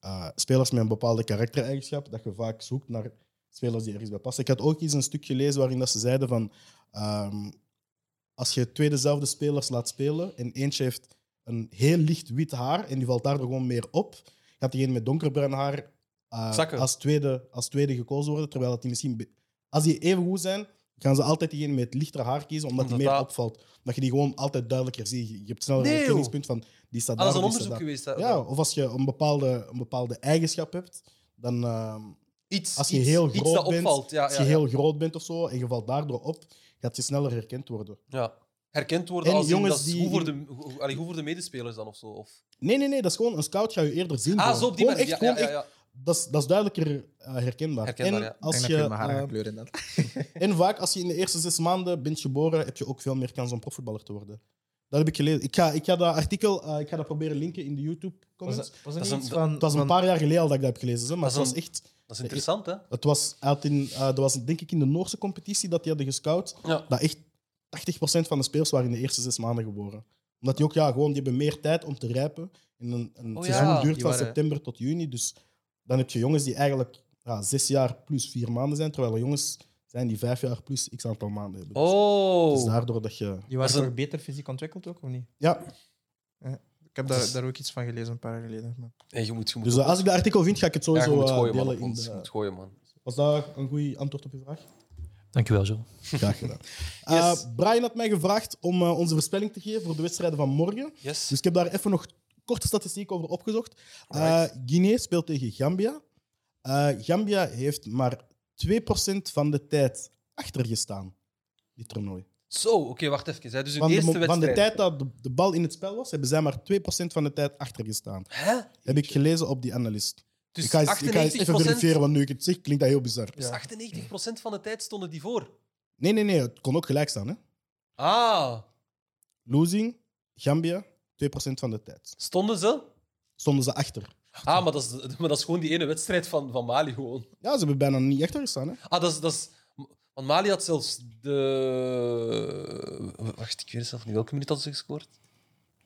[SPEAKER 2] eh, spelers met een bepaalde karaktereigenschap, dat je vaak zoekt naar spelers die ergens bij passen. Ik had ook eens een stuk gelezen waarin dat ze zeiden van ehm, als je twee dezelfde spelers laat spelen en eentje heeft een heel licht wit haar en die valt daardoor gewoon meer op, gaat diegene met donkerbruin haar eh,
[SPEAKER 3] Zakken.
[SPEAKER 2] als, tweede, als tweede gekozen worden, terwijl dat die misschien... be- Als die even goed zijn, gaan ze altijd diegene met het lichtere haar kiezen, omdat,
[SPEAKER 3] Omdat
[SPEAKER 2] die meer
[SPEAKER 3] dat-
[SPEAKER 2] opvalt. Omdat je die gewoon altijd duidelijker ziet. Je hebt sneller
[SPEAKER 3] Nee,
[SPEAKER 2] een
[SPEAKER 3] joh.
[SPEAKER 2] herkenningspunt van die staat
[SPEAKER 3] Ah,
[SPEAKER 2] daar,
[SPEAKER 3] dat is een
[SPEAKER 2] of die
[SPEAKER 3] onderzoek
[SPEAKER 2] staat daar.
[SPEAKER 3] geweest. hè.
[SPEAKER 2] Ja, of als je een bepaalde, een bepaalde eigenschap hebt, dan... ehm,
[SPEAKER 3] iets,
[SPEAKER 2] als je
[SPEAKER 3] iets-
[SPEAKER 2] heel
[SPEAKER 3] iets
[SPEAKER 2] groot
[SPEAKER 3] dat
[SPEAKER 2] bent,
[SPEAKER 3] opvalt. Ja,
[SPEAKER 2] als je
[SPEAKER 3] ja, ja.
[SPEAKER 2] heel groot bent of zo en je valt daardoor op, gaat je sneller herkend worden.
[SPEAKER 3] Ja. Herkend worden
[SPEAKER 2] En
[SPEAKER 3] als in,
[SPEAKER 2] jongens
[SPEAKER 3] dat is
[SPEAKER 2] die-
[SPEAKER 3] goed, voor de, hoe- allee, goed voor de medespelers dan of zo. Of...
[SPEAKER 2] Nee, nee, nee, dat is gewoon een scout ga je eerder zien.
[SPEAKER 3] Ah,
[SPEAKER 2] bro.
[SPEAKER 3] zo op die
[SPEAKER 2] Gewoon
[SPEAKER 3] manier.
[SPEAKER 2] echt,
[SPEAKER 3] Ja, ja,
[SPEAKER 2] gewoon
[SPEAKER 3] ja, ja.
[SPEAKER 2] echt- Dat, is, dat is duidelijker eh, herkenbaar.
[SPEAKER 3] Herkenbaar,
[SPEAKER 2] en,
[SPEAKER 3] ja.
[SPEAKER 1] Als
[SPEAKER 2] als je,
[SPEAKER 1] je mijn haar
[SPEAKER 2] eh,
[SPEAKER 1] gaan kleuren dan.
[SPEAKER 2] en vaak, als je in de eerste zes maanden bent geboren, heb je ook veel meer kans om profvoetballer te worden. Dat heb ik gelezen. Ik ga, ik ga dat artikel eh, ik ga dat proberen linken in de YouTube-comments.
[SPEAKER 1] was
[SPEAKER 3] niet
[SPEAKER 1] dat
[SPEAKER 3] iets
[SPEAKER 1] iets
[SPEAKER 3] van-
[SPEAKER 1] van...
[SPEAKER 2] Het was een paar jaar geleden al dat ik dat heb gelezen, hè, maar
[SPEAKER 3] Dat is
[SPEAKER 2] het was echt...
[SPEAKER 3] Dat is interessant, hè?
[SPEAKER 2] Het was, uit in, eh, dat was denk ik in de Noorse competitie dat die hadden gescout.
[SPEAKER 3] Ja.
[SPEAKER 2] Dat echt 80% van de spelers waren in de eerste zes maanden geboren. Omdat die ook, ja, gewoon, die hebben meer tijd om te rijpen. En een, een
[SPEAKER 3] Oh
[SPEAKER 2] seizoen
[SPEAKER 3] ja,
[SPEAKER 2] duurt
[SPEAKER 3] die
[SPEAKER 2] van
[SPEAKER 3] waren-
[SPEAKER 2] september tot juni. Dus dan heb je jongens die eigenlijk ja, zes jaar plus vier maanden zijn. Terwijl er jongens zijn die vijf jaar plus x aantal maanden hebben.
[SPEAKER 3] Oh.
[SPEAKER 2] Dus daardoor dat je...
[SPEAKER 1] Je
[SPEAKER 3] was
[SPEAKER 1] was
[SPEAKER 3] een-
[SPEAKER 1] toch beter fysiek ontwikkeld ook, of niet?
[SPEAKER 2] Ja,
[SPEAKER 1] Ik heb
[SPEAKER 3] Dat
[SPEAKER 1] daar,
[SPEAKER 3] is-
[SPEAKER 1] daar ook iets van gelezen een paar jaar geleden. Maar...
[SPEAKER 3] Hey, je moet, je moet,
[SPEAKER 2] dus eh, als ik dat artikel vind, ga ik het
[SPEAKER 3] ja, je
[SPEAKER 2] sowieso
[SPEAKER 3] moet
[SPEAKER 2] eh,
[SPEAKER 3] gooien, man.
[SPEAKER 2] delen.
[SPEAKER 3] op
[SPEAKER 2] in
[SPEAKER 3] ons. Je
[SPEAKER 2] de-
[SPEAKER 3] moet gooien, man.
[SPEAKER 2] Was dat een goed antwoord op je vraag?
[SPEAKER 4] Dankjewel, Jo.
[SPEAKER 2] Graag gedaan.
[SPEAKER 3] Yes.
[SPEAKER 2] Eh, Brian had mij gevraagd om eh, onze voorspelling te geven voor de wedstrijden van morgen.
[SPEAKER 3] Yes.
[SPEAKER 2] Dus ik heb daar even nog korte statistiek over opgezocht. Eh,
[SPEAKER 3] Alright.
[SPEAKER 2] Guinea speelt tegen Gambia. Eh, Gambia heeft maar 2% van de tijd achtergestaan, dit toernooi.
[SPEAKER 3] Zo, oké, wacht even. Hè. Dus de
[SPEAKER 2] Van de,
[SPEAKER 3] eerste
[SPEAKER 2] mo- van
[SPEAKER 3] wedstrijd.
[SPEAKER 2] de tijd dat de, de bal in het spel was, hebben zij maar 2% van de tijd achtergestaan.
[SPEAKER 3] Hè?
[SPEAKER 2] Heb ik gelezen op die analist.
[SPEAKER 3] Dus
[SPEAKER 2] ik, ga eens, ik ga eens
[SPEAKER 3] 98%,
[SPEAKER 2] even verifiëren, want nu ik het zeg, klinkt dat heel bizar.
[SPEAKER 3] dus 98% van de tijd stonden die voor.
[SPEAKER 2] Nee, nee, nee, het kon ook gelijk staan. Hè?
[SPEAKER 3] Ah,
[SPEAKER 2] Losing, Gambia, 2% van de tijd.
[SPEAKER 3] stonden ze?
[SPEAKER 2] Stonden ze achter.
[SPEAKER 3] Ah, maar dat is, <laughs> maar dat is gewoon die ene wedstrijd van, van Mali gewoon.
[SPEAKER 2] Ja, ze hebben bijna niet achtergestaan. Hè?
[SPEAKER 3] Ah, dat is, dat is... Want Mali had zelfs de... Wacht, ik weet zelf niet welke minuut had ze gescoord.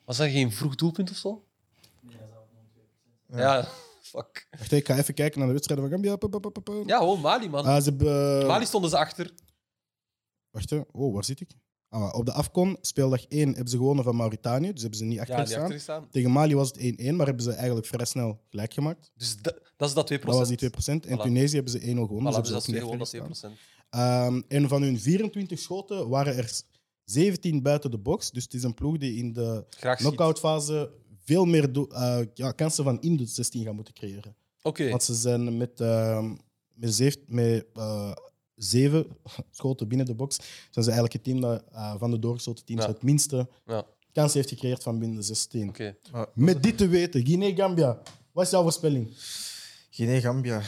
[SPEAKER 3] Was dat geen vroeg doelpunt of zo? Ja, <laughs> fuck.
[SPEAKER 2] Wacht, ik ga even kijken naar de wedstrijden van Gambia. Pa, pa, pa, pa, pa.
[SPEAKER 3] Ja, gewoon Mali, man.
[SPEAKER 2] Ah, ze hebben...
[SPEAKER 3] Mali stonden ze achter.
[SPEAKER 2] Wacht, hè. oh, waar zit ik? Ah, op de Afcon, speeldag 1, hebben ze gewonnen van Mauritanië. Dus hebben ze niet
[SPEAKER 3] Ja, die
[SPEAKER 2] achtergestaan.
[SPEAKER 3] achter staan.
[SPEAKER 2] Tegen Mali was het 1-1, maar hebben ze eigenlijk vrij snel gelijk gemaakt.
[SPEAKER 3] Dus da- dat is dat 2%.
[SPEAKER 2] Dat was die 2%. En
[SPEAKER 3] Voilà.
[SPEAKER 2] Tunesië hebben ze 1-0
[SPEAKER 3] Voilà,
[SPEAKER 2] gewonnen.
[SPEAKER 3] dus
[SPEAKER 2] dus
[SPEAKER 3] dat is
[SPEAKER 2] hebben ze ook niet
[SPEAKER 3] gewoon dat 2%.
[SPEAKER 2] achtergestaan. Ehm, en van hun 24 schoten waren er 17 buiten de box. Dus het is een ploeg die in de
[SPEAKER 3] Graag schiet. Oké.
[SPEAKER 2] knock-outfase veel meer do- eh, ja, kansen van in de 16 gaan moeten creëren. Want ze zijn met, ehm, met, zeven, met eh, zeven <laughs> schoten binnen de box. Zijn ze eigenlijk het team dat, eh, van de doorgestoten teams
[SPEAKER 3] Ja.
[SPEAKER 2] het minste
[SPEAKER 3] Ja,
[SPEAKER 2] kans heeft gecreëerd van binnen de 16.
[SPEAKER 3] oké.
[SPEAKER 2] Met dit te weten, Guinea-Gambia, wat is jouw voorspelling?
[SPEAKER 1] Guinea-Gambia.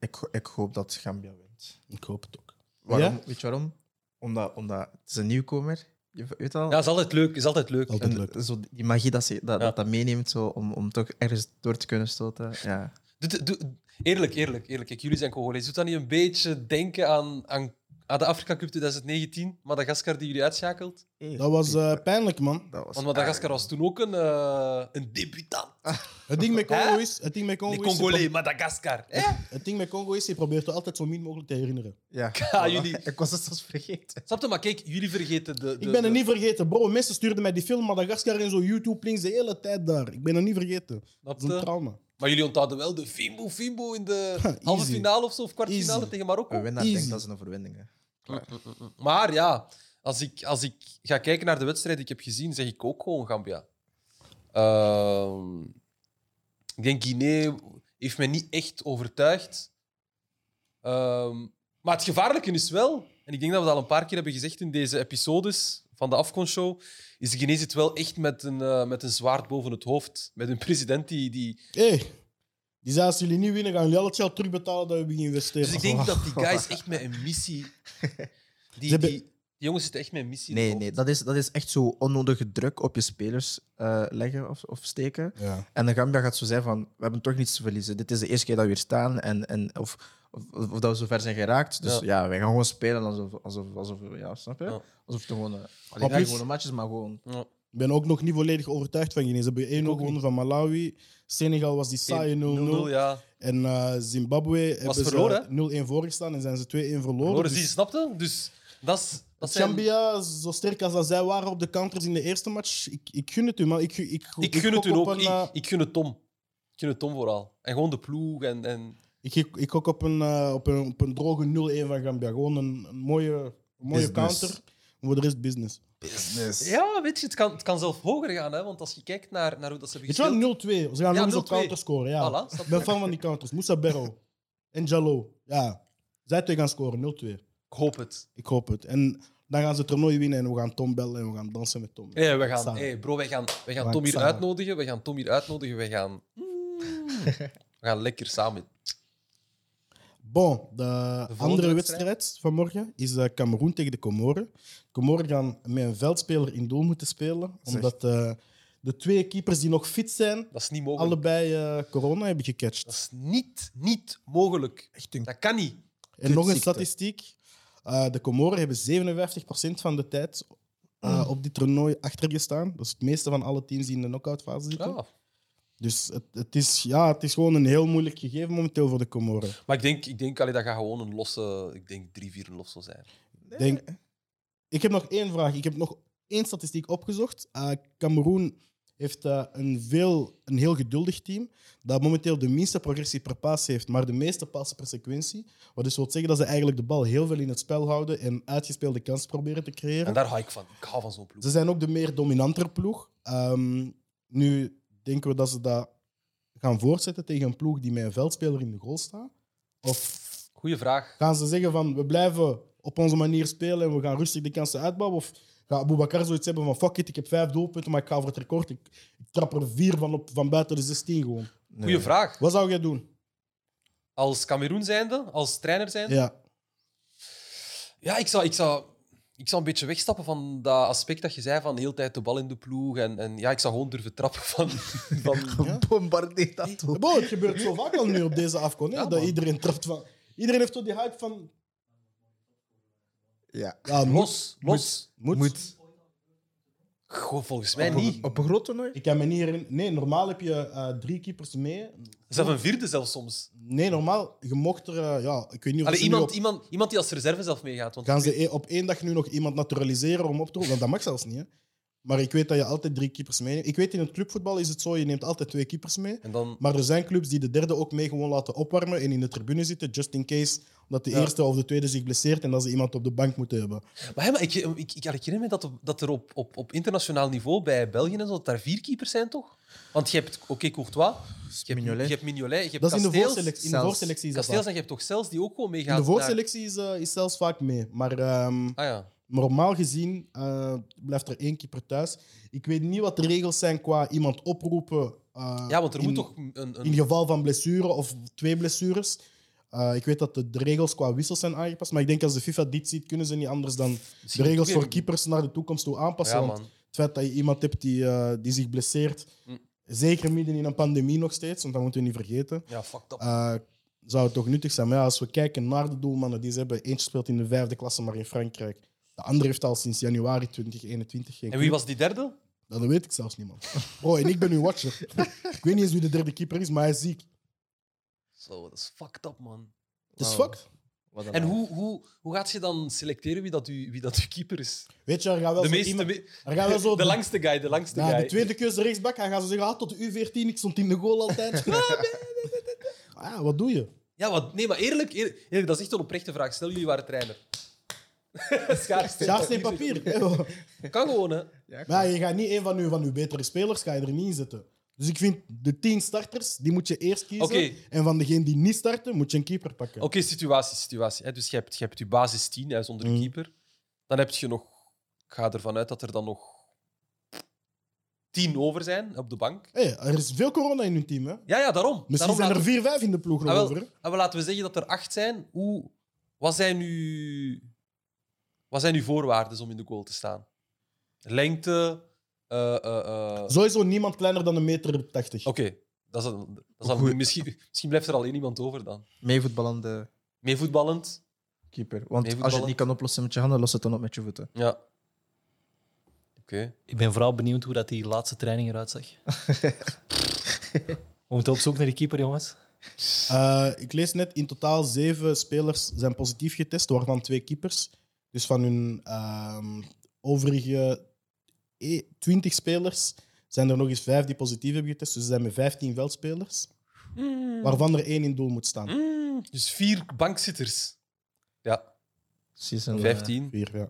[SPEAKER 1] Ik, ho- ik hoop dat Gambia wint.
[SPEAKER 2] Ik hoop het ook.
[SPEAKER 1] Waarom?
[SPEAKER 2] Ja?
[SPEAKER 1] Weet je waarom? Omdat, omdat het is een nieuwkomer. Je weet wel,
[SPEAKER 3] Ja, is altijd leuk. Is altijd leuk.
[SPEAKER 2] Altijd.
[SPEAKER 1] en
[SPEAKER 2] leuk.
[SPEAKER 1] Zo die magie dat ze, dat,
[SPEAKER 3] Ja.
[SPEAKER 1] dat, dat meeneemt zo, om, om toch ergens door te kunnen stoten. Ja.
[SPEAKER 3] Doet- doet- eerlijk, eerlijk, eerlijk. Kijk, jullie zijn Congolees. Doet dat niet een beetje denken aan, aan, aan de Afrika Cup 2019? Madagaskar die jullie uitschakelt?
[SPEAKER 2] Dat was eh, pijnlijk, man.
[SPEAKER 1] dat was
[SPEAKER 3] Want Madagaskar was toen ook een, eh, een debutant.
[SPEAKER 2] Het ding met Congo
[SPEAKER 3] Hè?
[SPEAKER 2] Oh, is... Het ding met
[SPEAKER 3] De
[SPEAKER 2] Congo is...
[SPEAKER 3] Congolee, Madagaskar. hè?
[SPEAKER 2] Het ding met Congo is, je probeert je altijd zo min mogelijk te herinneren.
[SPEAKER 1] Ja,
[SPEAKER 3] <laughs> Ja, jullie-
[SPEAKER 1] <laughs> Ik was het zelfs vergeten.
[SPEAKER 3] Snap je? Maar kijk, jullie vergeten de... de
[SPEAKER 2] Ik ben
[SPEAKER 3] de-
[SPEAKER 2] het niet vergeten, bro. Mensen stuurden mij die film Madagaskar en zo YouTube-links de hele tijd daar. Ik ben het niet vergeten.
[SPEAKER 3] Snap
[SPEAKER 2] Dat is een
[SPEAKER 3] je?
[SPEAKER 2] trauma.
[SPEAKER 3] Maar jullie onthouden wel de Fimbo Fimbo in de
[SPEAKER 2] Ha,
[SPEAKER 3] halve
[SPEAKER 2] easy.
[SPEAKER 3] finale of zo, of kwartfinale
[SPEAKER 2] Easy.
[SPEAKER 3] tegen Marokko.
[SPEAKER 1] Een winnaar
[SPEAKER 2] Easy.
[SPEAKER 1] denkt dat is een overwinning. Hè.
[SPEAKER 3] Maar ja, als ik, als ik ga kijken naar de wedstrijd die ik heb gezien, zeg ik ook gewoon Gambia. Ehm, ik denk Guinea heeft mij niet echt overtuigd. Ehm, maar het gevaarlijke is wel, en ik denk dat we dat al een paar keer hebben gezegd in deze episodes van de Afcon-show, is Guinea zit wel echt met een, eh, met een zwaard boven het hoofd. Met een president die... die...
[SPEAKER 2] Hé, die zei als jullie niet winnen, gaan jullie al het geld terugbetalen dat we hebben geïnvesteerd.
[SPEAKER 3] Dus ik denk
[SPEAKER 2] <laughs>
[SPEAKER 3] dat die guys echt met een missie... Die, die,
[SPEAKER 2] hebben-
[SPEAKER 3] die jongens zitten echt met een missie in
[SPEAKER 1] Nee,
[SPEAKER 3] het
[SPEAKER 1] nee
[SPEAKER 3] hoofd.
[SPEAKER 1] dat, is, dat is echt zo onnodige druk op je spelers eh, leggen of, of steken.
[SPEAKER 2] Ja.
[SPEAKER 1] En de Gambia gaat zo zijn van, we hebben toch niets te verliezen. Dit is de eerste keer dat we hier staan en, en of, of, of dat we zover zijn geraakt. Dus
[SPEAKER 3] Ja.
[SPEAKER 1] ja, wij gaan gewoon spelen alsof, alsof, alsof ja, snap je?
[SPEAKER 3] Ja.
[SPEAKER 1] Alsof het gewoon, eh, allee,
[SPEAKER 2] Maar
[SPEAKER 1] niet
[SPEAKER 2] plus-
[SPEAKER 1] gewoon een match is, maar gewoon...
[SPEAKER 3] Ja.
[SPEAKER 2] Ik ben ook nog niet volledig overtuigd van Guinea. Ze hebben 1-0
[SPEAKER 3] ook
[SPEAKER 2] gewonnen van Malawi. Senegal was die saaie
[SPEAKER 3] 0-0,
[SPEAKER 2] 0-0.
[SPEAKER 3] ja.
[SPEAKER 2] En eh, Zimbabwe hebben
[SPEAKER 3] verloren,
[SPEAKER 2] ze 0-1 voorgestaan en zijn ze 2-1 verloren.
[SPEAKER 3] Horen
[SPEAKER 2] Dus
[SPEAKER 3] zie je, snapte? Dus dat is... Dat zijn...
[SPEAKER 2] Zambia, zo sterk als dat zij waren op de counters in de eerste match, ik, ik gun het u, man. Ik, ik, ik,
[SPEAKER 3] Ik gun
[SPEAKER 2] gok
[SPEAKER 3] het hun
[SPEAKER 2] op
[SPEAKER 3] ook.
[SPEAKER 2] een, eh,
[SPEAKER 3] Ik, ik gun het Tom. Ik gun het Tom vooral. En gewoon de ploeg en... en...
[SPEAKER 2] Ik, ik, ik gok op een, eh, op een, op een droge 0-1 van Gambia. Gewoon een, een mooie, een mooie
[SPEAKER 1] Business.
[SPEAKER 2] counter. Voor de rest business.
[SPEAKER 3] Ja, weet je, het kan, het kan zelf hoger gaan, hè. Want als je kijkt naar, naar hoe dat ze hebben
[SPEAKER 2] Weet je wel,
[SPEAKER 3] gespeeld...
[SPEAKER 2] 0-2. Ze gaan
[SPEAKER 3] Ja,
[SPEAKER 2] nog eens op
[SPEAKER 3] 0-2.
[SPEAKER 2] counter scoren. Ja.
[SPEAKER 3] Voilà, snap
[SPEAKER 2] Ik
[SPEAKER 3] je?
[SPEAKER 2] ben fan van die counters. Moussa Berro en Jallo. Ja. Zij twee gaan scoren, 0-2.
[SPEAKER 3] Ik hoop het.
[SPEAKER 2] Ik hoop het. En dan gaan ze het toernooi winnen en we gaan Tom bellen en we gaan dansen met Tom.
[SPEAKER 3] Hey, we gaan,
[SPEAKER 2] Samen.
[SPEAKER 3] hey, bro, wij gaan, wij gaan
[SPEAKER 2] gaan
[SPEAKER 3] Tom hier
[SPEAKER 2] samen.
[SPEAKER 3] uitnodigen. We gaan Tom hier uitnodigen. We
[SPEAKER 2] <laughs>
[SPEAKER 3] gaan... we gaan lekker samen.
[SPEAKER 2] Bon, de, andere
[SPEAKER 3] wedstrijd?
[SPEAKER 2] wedstrijd van morgen is eh, Cameroen tegen de Comoren. Comoren gaan met een veldspeler in doel moeten spelen.
[SPEAKER 1] Zeg.
[SPEAKER 2] Omdat eh, de twee keepers die nog fit zijn,
[SPEAKER 3] Dat is niet mogelijk.
[SPEAKER 2] allebei eh, corona hebben gecatcht.
[SPEAKER 3] Dat is niet, niet mogelijk.
[SPEAKER 1] Echt een
[SPEAKER 3] Dat kan niet.
[SPEAKER 2] En nog een
[SPEAKER 1] kutziekte.
[SPEAKER 2] statistiek. Eh, de Comoren hebben 57% van de tijd eh, op dit toernooi achtergestaan. Dat is het meeste van alle teams die in de knock-outfase zitten.
[SPEAKER 3] Ja.
[SPEAKER 2] Dus het, het, is, ja, het is gewoon een heel moeilijk gegeven momenteel voor de Comoren.
[SPEAKER 3] Maar ik denk, ik denk allee, dat gaat gewoon een losse... Ik denk drie, vier een los zal zijn.
[SPEAKER 2] Ik Denk, ik heb nog één vraag. Ik heb nog één statistiek opgezocht. Eh, Cameroen heeft eh, een, veel, een heel geduldig team dat momenteel de minste progressie per paas heeft, maar de meeste passen per sequentie. Wat dus wil zeggen dat ze eigenlijk de bal heel veel in het spel houden en uitgespeelde kansen proberen te creëren.
[SPEAKER 3] En daar hou ik van. Ik hou van zo'n ploeg.
[SPEAKER 2] Ze zijn ook de meer dominantere ploeg. Ehm, nu denken we dat ze dat gaan voortzetten tegen een ploeg die met een veldspeler in de goal staat. Of
[SPEAKER 3] Goeie vraag.
[SPEAKER 2] gaan ze zeggen van we blijven op onze manier spelen en we gaan rustig de kansen uitbouwen? Of gaat Aboubakar zoiets hebben van fuck it, ik heb vijf doelpunten, maar ik ga voor het record. Ik, ik trap er vier van, op, van buiten de 16 gewoon.
[SPEAKER 1] Nee.
[SPEAKER 3] Goeie vraag.
[SPEAKER 2] Wat zou jij doen?
[SPEAKER 3] Als Cameroen zijnde, als trainer zijnde. Ja,
[SPEAKER 2] Ja,
[SPEAKER 3] ik, zou, ik, zou, ik zou een beetje wegstappen van dat aspect dat je zei van de hele tijd de bal in de ploeg. En, en ja, ik zou gewoon durven trappen
[SPEAKER 2] <laughs>
[SPEAKER 3] van... van
[SPEAKER 1] Bombardeer dat toe.
[SPEAKER 2] Bo, het gebeurt zo vaak al nu op deze afkomst.
[SPEAKER 3] Ja,
[SPEAKER 2] dat
[SPEAKER 3] man.
[SPEAKER 2] iedereen trapt van. Iedereen heeft zo die hype van.
[SPEAKER 1] Ja.
[SPEAKER 2] Ja, moet.
[SPEAKER 3] los, los.
[SPEAKER 2] moet.
[SPEAKER 3] Goh, volgens mij
[SPEAKER 1] Op een-
[SPEAKER 3] niet.
[SPEAKER 1] Op een groot toernooi?
[SPEAKER 2] Ik kan me niet herinneren. Nee, normaal heb je eh, drie keepers mee.
[SPEAKER 3] Zelf een vierde zelfs soms.
[SPEAKER 2] Nee, normaal, je mocht er. eh, ja, ik weet niet of
[SPEAKER 3] Allee,
[SPEAKER 2] ze
[SPEAKER 3] iemand,
[SPEAKER 2] nu op,
[SPEAKER 3] iemand, iemand die als reserve zelf meegaat. Want
[SPEAKER 2] gaan ze e- op één dag nu nog iemand naturaliseren om op te roepen. Want dat mag zelfs niet. Hè. Maar ik weet dat je altijd drie keepers meeneemt. Ik weet in het clubvoetbal is het zo, je neemt altijd twee keepers mee.
[SPEAKER 3] En dan...
[SPEAKER 2] Maar er zijn clubs die de derde ook mee gewoon laten opwarmen en in de tribune zitten, just in case dat de
[SPEAKER 3] Ja.
[SPEAKER 2] eerste of de tweede zich blesseert en dat ze iemand op de bank moeten hebben.
[SPEAKER 3] Maar, hè, maar ik, ik, ik, ik herinner me dat, op- dat er op, op, op internationaal niveau bij België en zo, dat daar vier keepers zijn, toch? Want je hebt, oké, Courtois, je hebt
[SPEAKER 1] Mignolet.
[SPEAKER 3] Mignolet, je hebt, Mignolet, je hebt
[SPEAKER 2] Dat is in de
[SPEAKER 3] Casteels.
[SPEAKER 2] voorselectie. In de
[SPEAKER 1] Zelfs.
[SPEAKER 2] voorselectie is dat
[SPEAKER 3] Kasteels
[SPEAKER 2] vaak.
[SPEAKER 3] en je hebt toch zelfs die ook gewoon
[SPEAKER 2] In
[SPEAKER 3] meegaat.
[SPEAKER 2] de
[SPEAKER 3] naar-
[SPEAKER 2] voorselectie is, eh, is zelfs vaak mee. Maar ehm,
[SPEAKER 3] Ah ja.
[SPEAKER 2] Normaal gezien eh, blijft er één keeper thuis. Ik weet niet wat de regels zijn qua iemand oproepen. eh,
[SPEAKER 3] Ja, want er
[SPEAKER 2] in,
[SPEAKER 3] moet toch een... een...
[SPEAKER 2] In geval van blessure of twee blessures. Eh, ik weet dat de, de regels qua wissels zijn aangepast, maar ik denk als de FIFA dit ziet, kunnen ze niet anders dan de
[SPEAKER 3] Misschien
[SPEAKER 2] regels
[SPEAKER 3] ook
[SPEAKER 2] voor
[SPEAKER 3] weer-
[SPEAKER 2] keepers naar de toekomst toe aanpassen.
[SPEAKER 3] Ja,
[SPEAKER 2] want
[SPEAKER 3] man.
[SPEAKER 2] het feit dat je iemand hebt die, eh, die zich blesseert,
[SPEAKER 3] Hm.
[SPEAKER 2] zeker midden in een pandemie nog steeds, want dat moeten we niet vergeten,
[SPEAKER 3] Ja, fucked up.
[SPEAKER 2] eh, zou het toch nuttig zijn. Maar ja, als we kijken naar de doelmannen die ze hebben, eentje speelt in de vijfde klasse, maar in Frankrijk. De andere heeft al sinds januari 2021 geen
[SPEAKER 3] En wie
[SPEAKER 2] club.
[SPEAKER 3] was die derde?
[SPEAKER 2] Dat weet ik zelfs niet, man. Oh, en ik ben uw
[SPEAKER 3] <laughs>
[SPEAKER 2] watcher. ik weet niet eens wie de derde keeper is, maar hij is ziek.
[SPEAKER 3] Zo, dat is fucked up, man.
[SPEAKER 2] Het is
[SPEAKER 1] Wauw.
[SPEAKER 2] fucked.
[SPEAKER 1] Wat een
[SPEAKER 3] En
[SPEAKER 1] lijf.
[SPEAKER 3] hoe, hoe, hoe gaat je dan selecteren wie dat, u, wie dat uw keeper is?
[SPEAKER 2] Weet je, er gaat wel
[SPEAKER 3] De,
[SPEAKER 2] zo
[SPEAKER 3] meeste,
[SPEAKER 2] iemand-
[SPEAKER 3] me-
[SPEAKER 2] er gaat wel zo
[SPEAKER 3] de langste guy, de langste
[SPEAKER 2] Na
[SPEAKER 3] guy.
[SPEAKER 2] de tweede keuze rechtsbak, hij gaat zo zeggen, ah, tot de U14, ik stond in de goal
[SPEAKER 3] <laughs>
[SPEAKER 2] altijd. ah, wat doe je?
[SPEAKER 3] Ja, wat, nee, maar eerlijk, eerlijk, eerlijk, dat is echt een oprechte vraag. Stel, jullie waren trainer. <laughs> Schaarste.
[SPEAKER 2] Schaars in papier.
[SPEAKER 3] <laughs>
[SPEAKER 2] <laughs> hè.
[SPEAKER 3] Kan gewoon, hè.
[SPEAKER 1] Ja,
[SPEAKER 2] Maar ja, je gaat niet een van uw, van uw betere spelers ga je er niet in zetten. Dus ik vind de tien starters, die moet je eerst kiezen.
[SPEAKER 3] Oké.
[SPEAKER 2] En van degene die niet starten, moet je een keeper pakken.
[SPEAKER 3] Oké, situatie, situatie. Hè. Dus je hebt, je hebt je basis 10, hij is onder de
[SPEAKER 2] Mm.
[SPEAKER 3] keeper. Dan heb je nog... Ik ga ervan uit dat er dan nog 10 over zijn op de bank.
[SPEAKER 2] Hey, er is veel corona in hun team. Hè?
[SPEAKER 3] Ja, ja, daarom.
[SPEAKER 2] Misschien
[SPEAKER 3] daarom
[SPEAKER 2] zijn er
[SPEAKER 3] laten-
[SPEAKER 2] vier, vijf in de ploeg nog
[SPEAKER 3] Ah, wel,
[SPEAKER 2] over. hè.
[SPEAKER 3] ah, wel, laten we zeggen dat er 8 zijn. Hoe, wat, zijn uw, wat zijn uw voorwaarden om in de goal te staan? Lengte... eh, eh, eh,
[SPEAKER 2] Sowieso niemand kleiner dan een meter 80.
[SPEAKER 3] Oké, dat is dan- dat is dan-
[SPEAKER 1] Goed.
[SPEAKER 3] misschien, misschien blijft er alleen iemand over dan.
[SPEAKER 1] Meevoetballende
[SPEAKER 3] Meevoetballend?
[SPEAKER 1] keeper. Want als je het
[SPEAKER 3] Meevoetballend.
[SPEAKER 1] niet kan oplossen met je handen, los het dan op met je voeten.
[SPEAKER 3] Ja. Oké.
[SPEAKER 4] Ik ben vooral benieuwd hoe dat die laatste training eruit zag. We moeten op zoek naar die keeper, jongens.
[SPEAKER 2] Eh, ik lees net, in totaal zeven spelers zijn positief getest, waarvan twee keepers. Dus van hun ehm, overige e- 20 spelers zijn er nog eens vijf die positief hebben getest. Dus ze zijn met 15 veldspelers,
[SPEAKER 3] Hmm.
[SPEAKER 2] waarvan er één in doel moet staan.
[SPEAKER 3] Mm, Dus vier bankzitters. Ja,
[SPEAKER 1] Season, eh,
[SPEAKER 3] 15.
[SPEAKER 2] Vier, ja.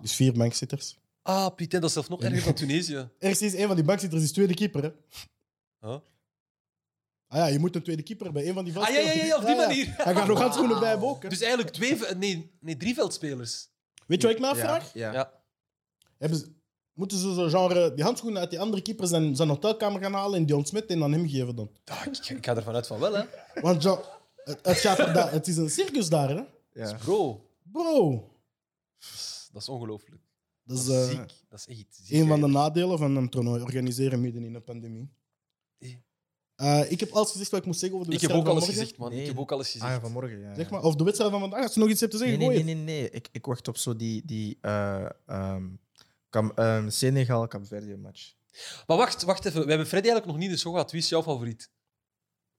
[SPEAKER 2] Dus vier bankzitters.
[SPEAKER 3] Ah, Pieter, dat is
[SPEAKER 2] <laughs>
[SPEAKER 3] zelfs nog erger dan Tunesië.
[SPEAKER 2] Ergens is een van die bankzitters is tweede keeper. Hè?
[SPEAKER 3] Huh?
[SPEAKER 2] Ah ja, je moet een tweede keeper bij een van die
[SPEAKER 3] Ah ja, ja, ja, ja, op die manier.
[SPEAKER 2] Hij gaat nog handschoenen bij hebben ook. hè.
[SPEAKER 3] Dus eigenlijk twee, ve- nee, nee, drie veldspelers.
[SPEAKER 2] Weet je wat ik me
[SPEAKER 1] ja,
[SPEAKER 2] afvraag?
[SPEAKER 1] Ja.
[SPEAKER 3] Ja.
[SPEAKER 2] Hebben ze- moeten ze zo genre die handschoenen uit die andere keepers zijn, zijn hotelkamer gaan halen en die ontsmetten en aan hem geven dan?
[SPEAKER 3] Ah, ik, ik ga ervan uit van wel, hè.
[SPEAKER 2] Want ja, het, het, gaat er daar- het is een circus daar, hè?
[SPEAKER 1] ja.
[SPEAKER 3] Dus Bro,
[SPEAKER 2] Bro,
[SPEAKER 3] dat is ongelooflijk.
[SPEAKER 2] dat is eh,
[SPEAKER 3] ziek. Dat is echt ziek.
[SPEAKER 2] een van de nadelen van een toernooi organiseren midden in een pandemie.
[SPEAKER 3] Eh.
[SPEAKER 2] Eh, ik heb alles gezegd wat ik moest zeggen over de
[SPEAKER 3] Ik heb
[SPEAKER 2] wedstrijd
[SPEAKER 3] ook
[SPEAKER 2] van
[SPEAKER 3] alles
[SPEAKER 2] morgen.
[SPEAKER 3] gezegd, man. Ik
[SPEAKER 1] Nee.
[SPEAKER 3] heb ook alles gezegd.
[SPEAKER 1] Ah, vanmorgen, ja.
[SPEAKER 2] Zeg maar, of de wedstrijd van vandaag. Als je nog iets hebt te
[SPEAKER 1] Nee,
[SPEAKER 2] zeggen,
[SPEAKER 1] nee,
[SPEAKER 2] gooi
[SPEAKER 1] nee,
[SPEAKER 2] het.
[SPEAKER 1] nee, nee. Ik, ik wacht op zo die, die eh, ehm, Cam- ehm, Senegal-Cap Verde-match.
[SPEAKER 3] Maar wacht, wacht even. We hebben Freddy eigenlijk nog niet in de show gehad. Wie is jouw favoriet?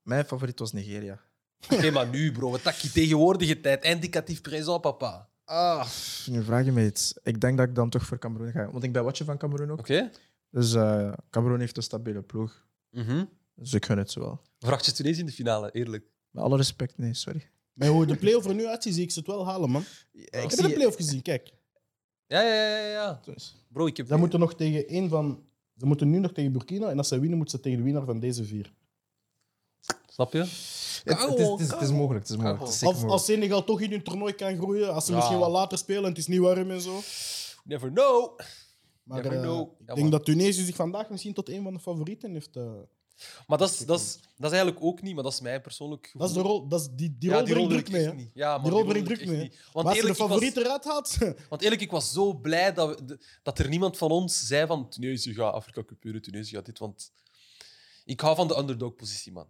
[SPEAKER 1] Mijn favoriet was Nigeria.
[SPEAKER 2] <laughs>
[SPEAKER 3] Oké, maar nu, bro. Wat takkie tegenwoordige tijd. Indicatief présent, papa.
[SPEAKER 1] Ah, nu vraag je me iets. Ik denk dat ik dan toch voor Cameroen ga. Want ik ben watje van Cameroen ook.
[SPEAKER 3] Oké?
[SPEAKER 1] Dus eh Cameroen heeft een stabiele ploeg. Dus ik gun het ze wel.
[SPEAKER 3] Vraagt je Mhm. Tunesië in de finale, eerlijk.
[SPEAKER 1] Met alle respect, nee, sorry.
[SPEAKER 2] Maar hoe de play-off er nu uitziet, zie ik ze het wel halen, man. Ik heb de play-off gezien, kijk.
[SPEAKER 3] Ja, ja, ja, ja, ja. Bro, ik heb...
[SPEAKER 2] Ze moeten nog tegen één van... Ze moeten nu nog tegen Burkina en als ze winnen, moeten ze tegen de winnaar van deze vier.
[SPEAKER 3] Snap je?
[SPEAKER 1] Het, het is, het, is, het is mogelijk, het is mogelijk. Het is zeker
[SPEAKER 2] Als,
[SPEAKER 1] mogelijk.
[SPEAKER 2] als Senegal toch in hun toernooi kan groeien, als ze
[SPEAKER 3] Ja.
[SPEAKER 2] misschien wat later spelen en het is niet warm en zo.
[SPEAKER 3] Never know.
[SPEAKER 2] Maar
[SPEAKER 3] Never
[SPEAKER 2] eh,
[SPEAKER 3] know.
[SPEAKER 2] ik
[SPEAKER 3] Ja,
[SPEAKER 2] denk
[SPEAKER 3] man.
[SPEAKER 2] dat Tunesië zich vandaag misschien tot een van de favorieten heeft. eh.
[SPEAKER 3] Maar dat is, dat, is, dat is eigenlijk ook niet, maar dat is mijn persoonlijk gevoel.
[SPEAKER 2] Dat is de rol, dat is die, die
[SPEAKER 3] Ja,
[SPEAKER 2] rol brengt
[SPEAKER 3] wil
[SPEAKER 2] druk
[SPEAKER 3] ik
[SPEAKER 2] mee.
[SPEAKER 3] echt
[SPEAKER 2] hè.
[SPEAKER 3] niet. Ja, man,
[SPEAKER 2] Die rol brengt
[SPEAKER 3] wil
[SPEAKER 2] druk
[SPEAKER 3] ik echt
[SPEAKER 2] mee.
[SPEAKER 3] niet.
[SPEAKER 2] Maar
[SPEAKER 3] Want
[SPEAKER 2] als je de
[SPEAKER 3] eerlijk, ik was-
[SPEAKER 2] favoriet eruit haalt, <laughs>
[SPEAKER 3] Want eerlijk, ik was zo blij dat, we- de- dat er niemand van ons zei van Tunesië gaat Afrika Cup Tunesië gaat dit, want ik hou van de underdog-positie, man.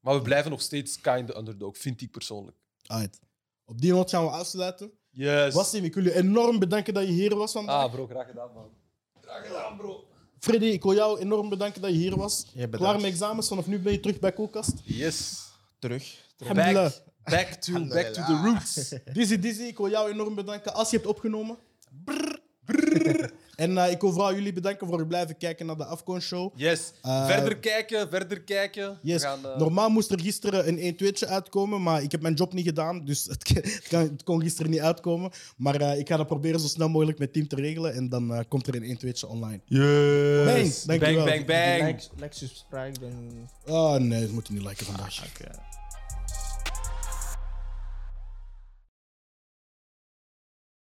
[SPEAKER 3] Maar we blijven nog steeds kind de underdog, vind ik persoonlijk.
[SPEAKER 2] Alright. op die noot gaan we afsluiten.
[SPEAKER 3] Yes.
[SPEAKER 2] Wassim, ik wil je enorm bedanken dat je hier was vandaag.
[SPEAKER 3] Ah, bro, graag gedaan, man. Graag gedaan, bro.
[SPEAKER 2] Freddy, ik wil jou enorm bedanken dat je hier was.
[SPEAKER 1] Jij bedankt.
[SPEAKER 2] Klaar met examens, vanaf nu ben je terug bij Koelkast.
[SPEAKER 3] Yes.
[SPEAKER 1] terug. terug.
[SPEAKER 2] Alhamdulillah.
[SPEAKER 3] Back, back, to, back to the
[SPEAKER 2] <laughs>
[SPEAKER 3] roots.
[SPEAKER 2] Dizzy Dizzy, ik wil jou enorm bedanken als je hebt opgenomen. Brrr, brrr. En eh, ik wil vooral jullie bedanken voor het blijven kijken naar de Afcon Show.
[SPEAKER 3] Yes.
[SPEAKER 2] Eh,
[SPEAKER 3] verder kijken, verder kijken.
[SPEAKER 2] Yes.
[SPEAKER 3] We gaan, eh,
[SPEAKER 2] Normaal moest er gisteren een 1-2'tje uitkomen, maar ik heb mijn job niet gedaan, dus <laughs> het, k- het, kan, het kon gisteren niet uitkomen. Maar eh, ik ga dat proberen zo snel mogelijk met het team te regelen en dan eh, komt er een 1-2'tje online. Yes! Bang,
[SPEAKER 3] bang,
[SPEAKER 2] dankjewel.
[SPEAKER 3] bang, bang.
[SPEAKER 1] Like, like, subscribe en...
[SPEAKER 2] Oh, Ah, nee, dat moet je niet liken vandaag.
[SPEAKER 1] Oké.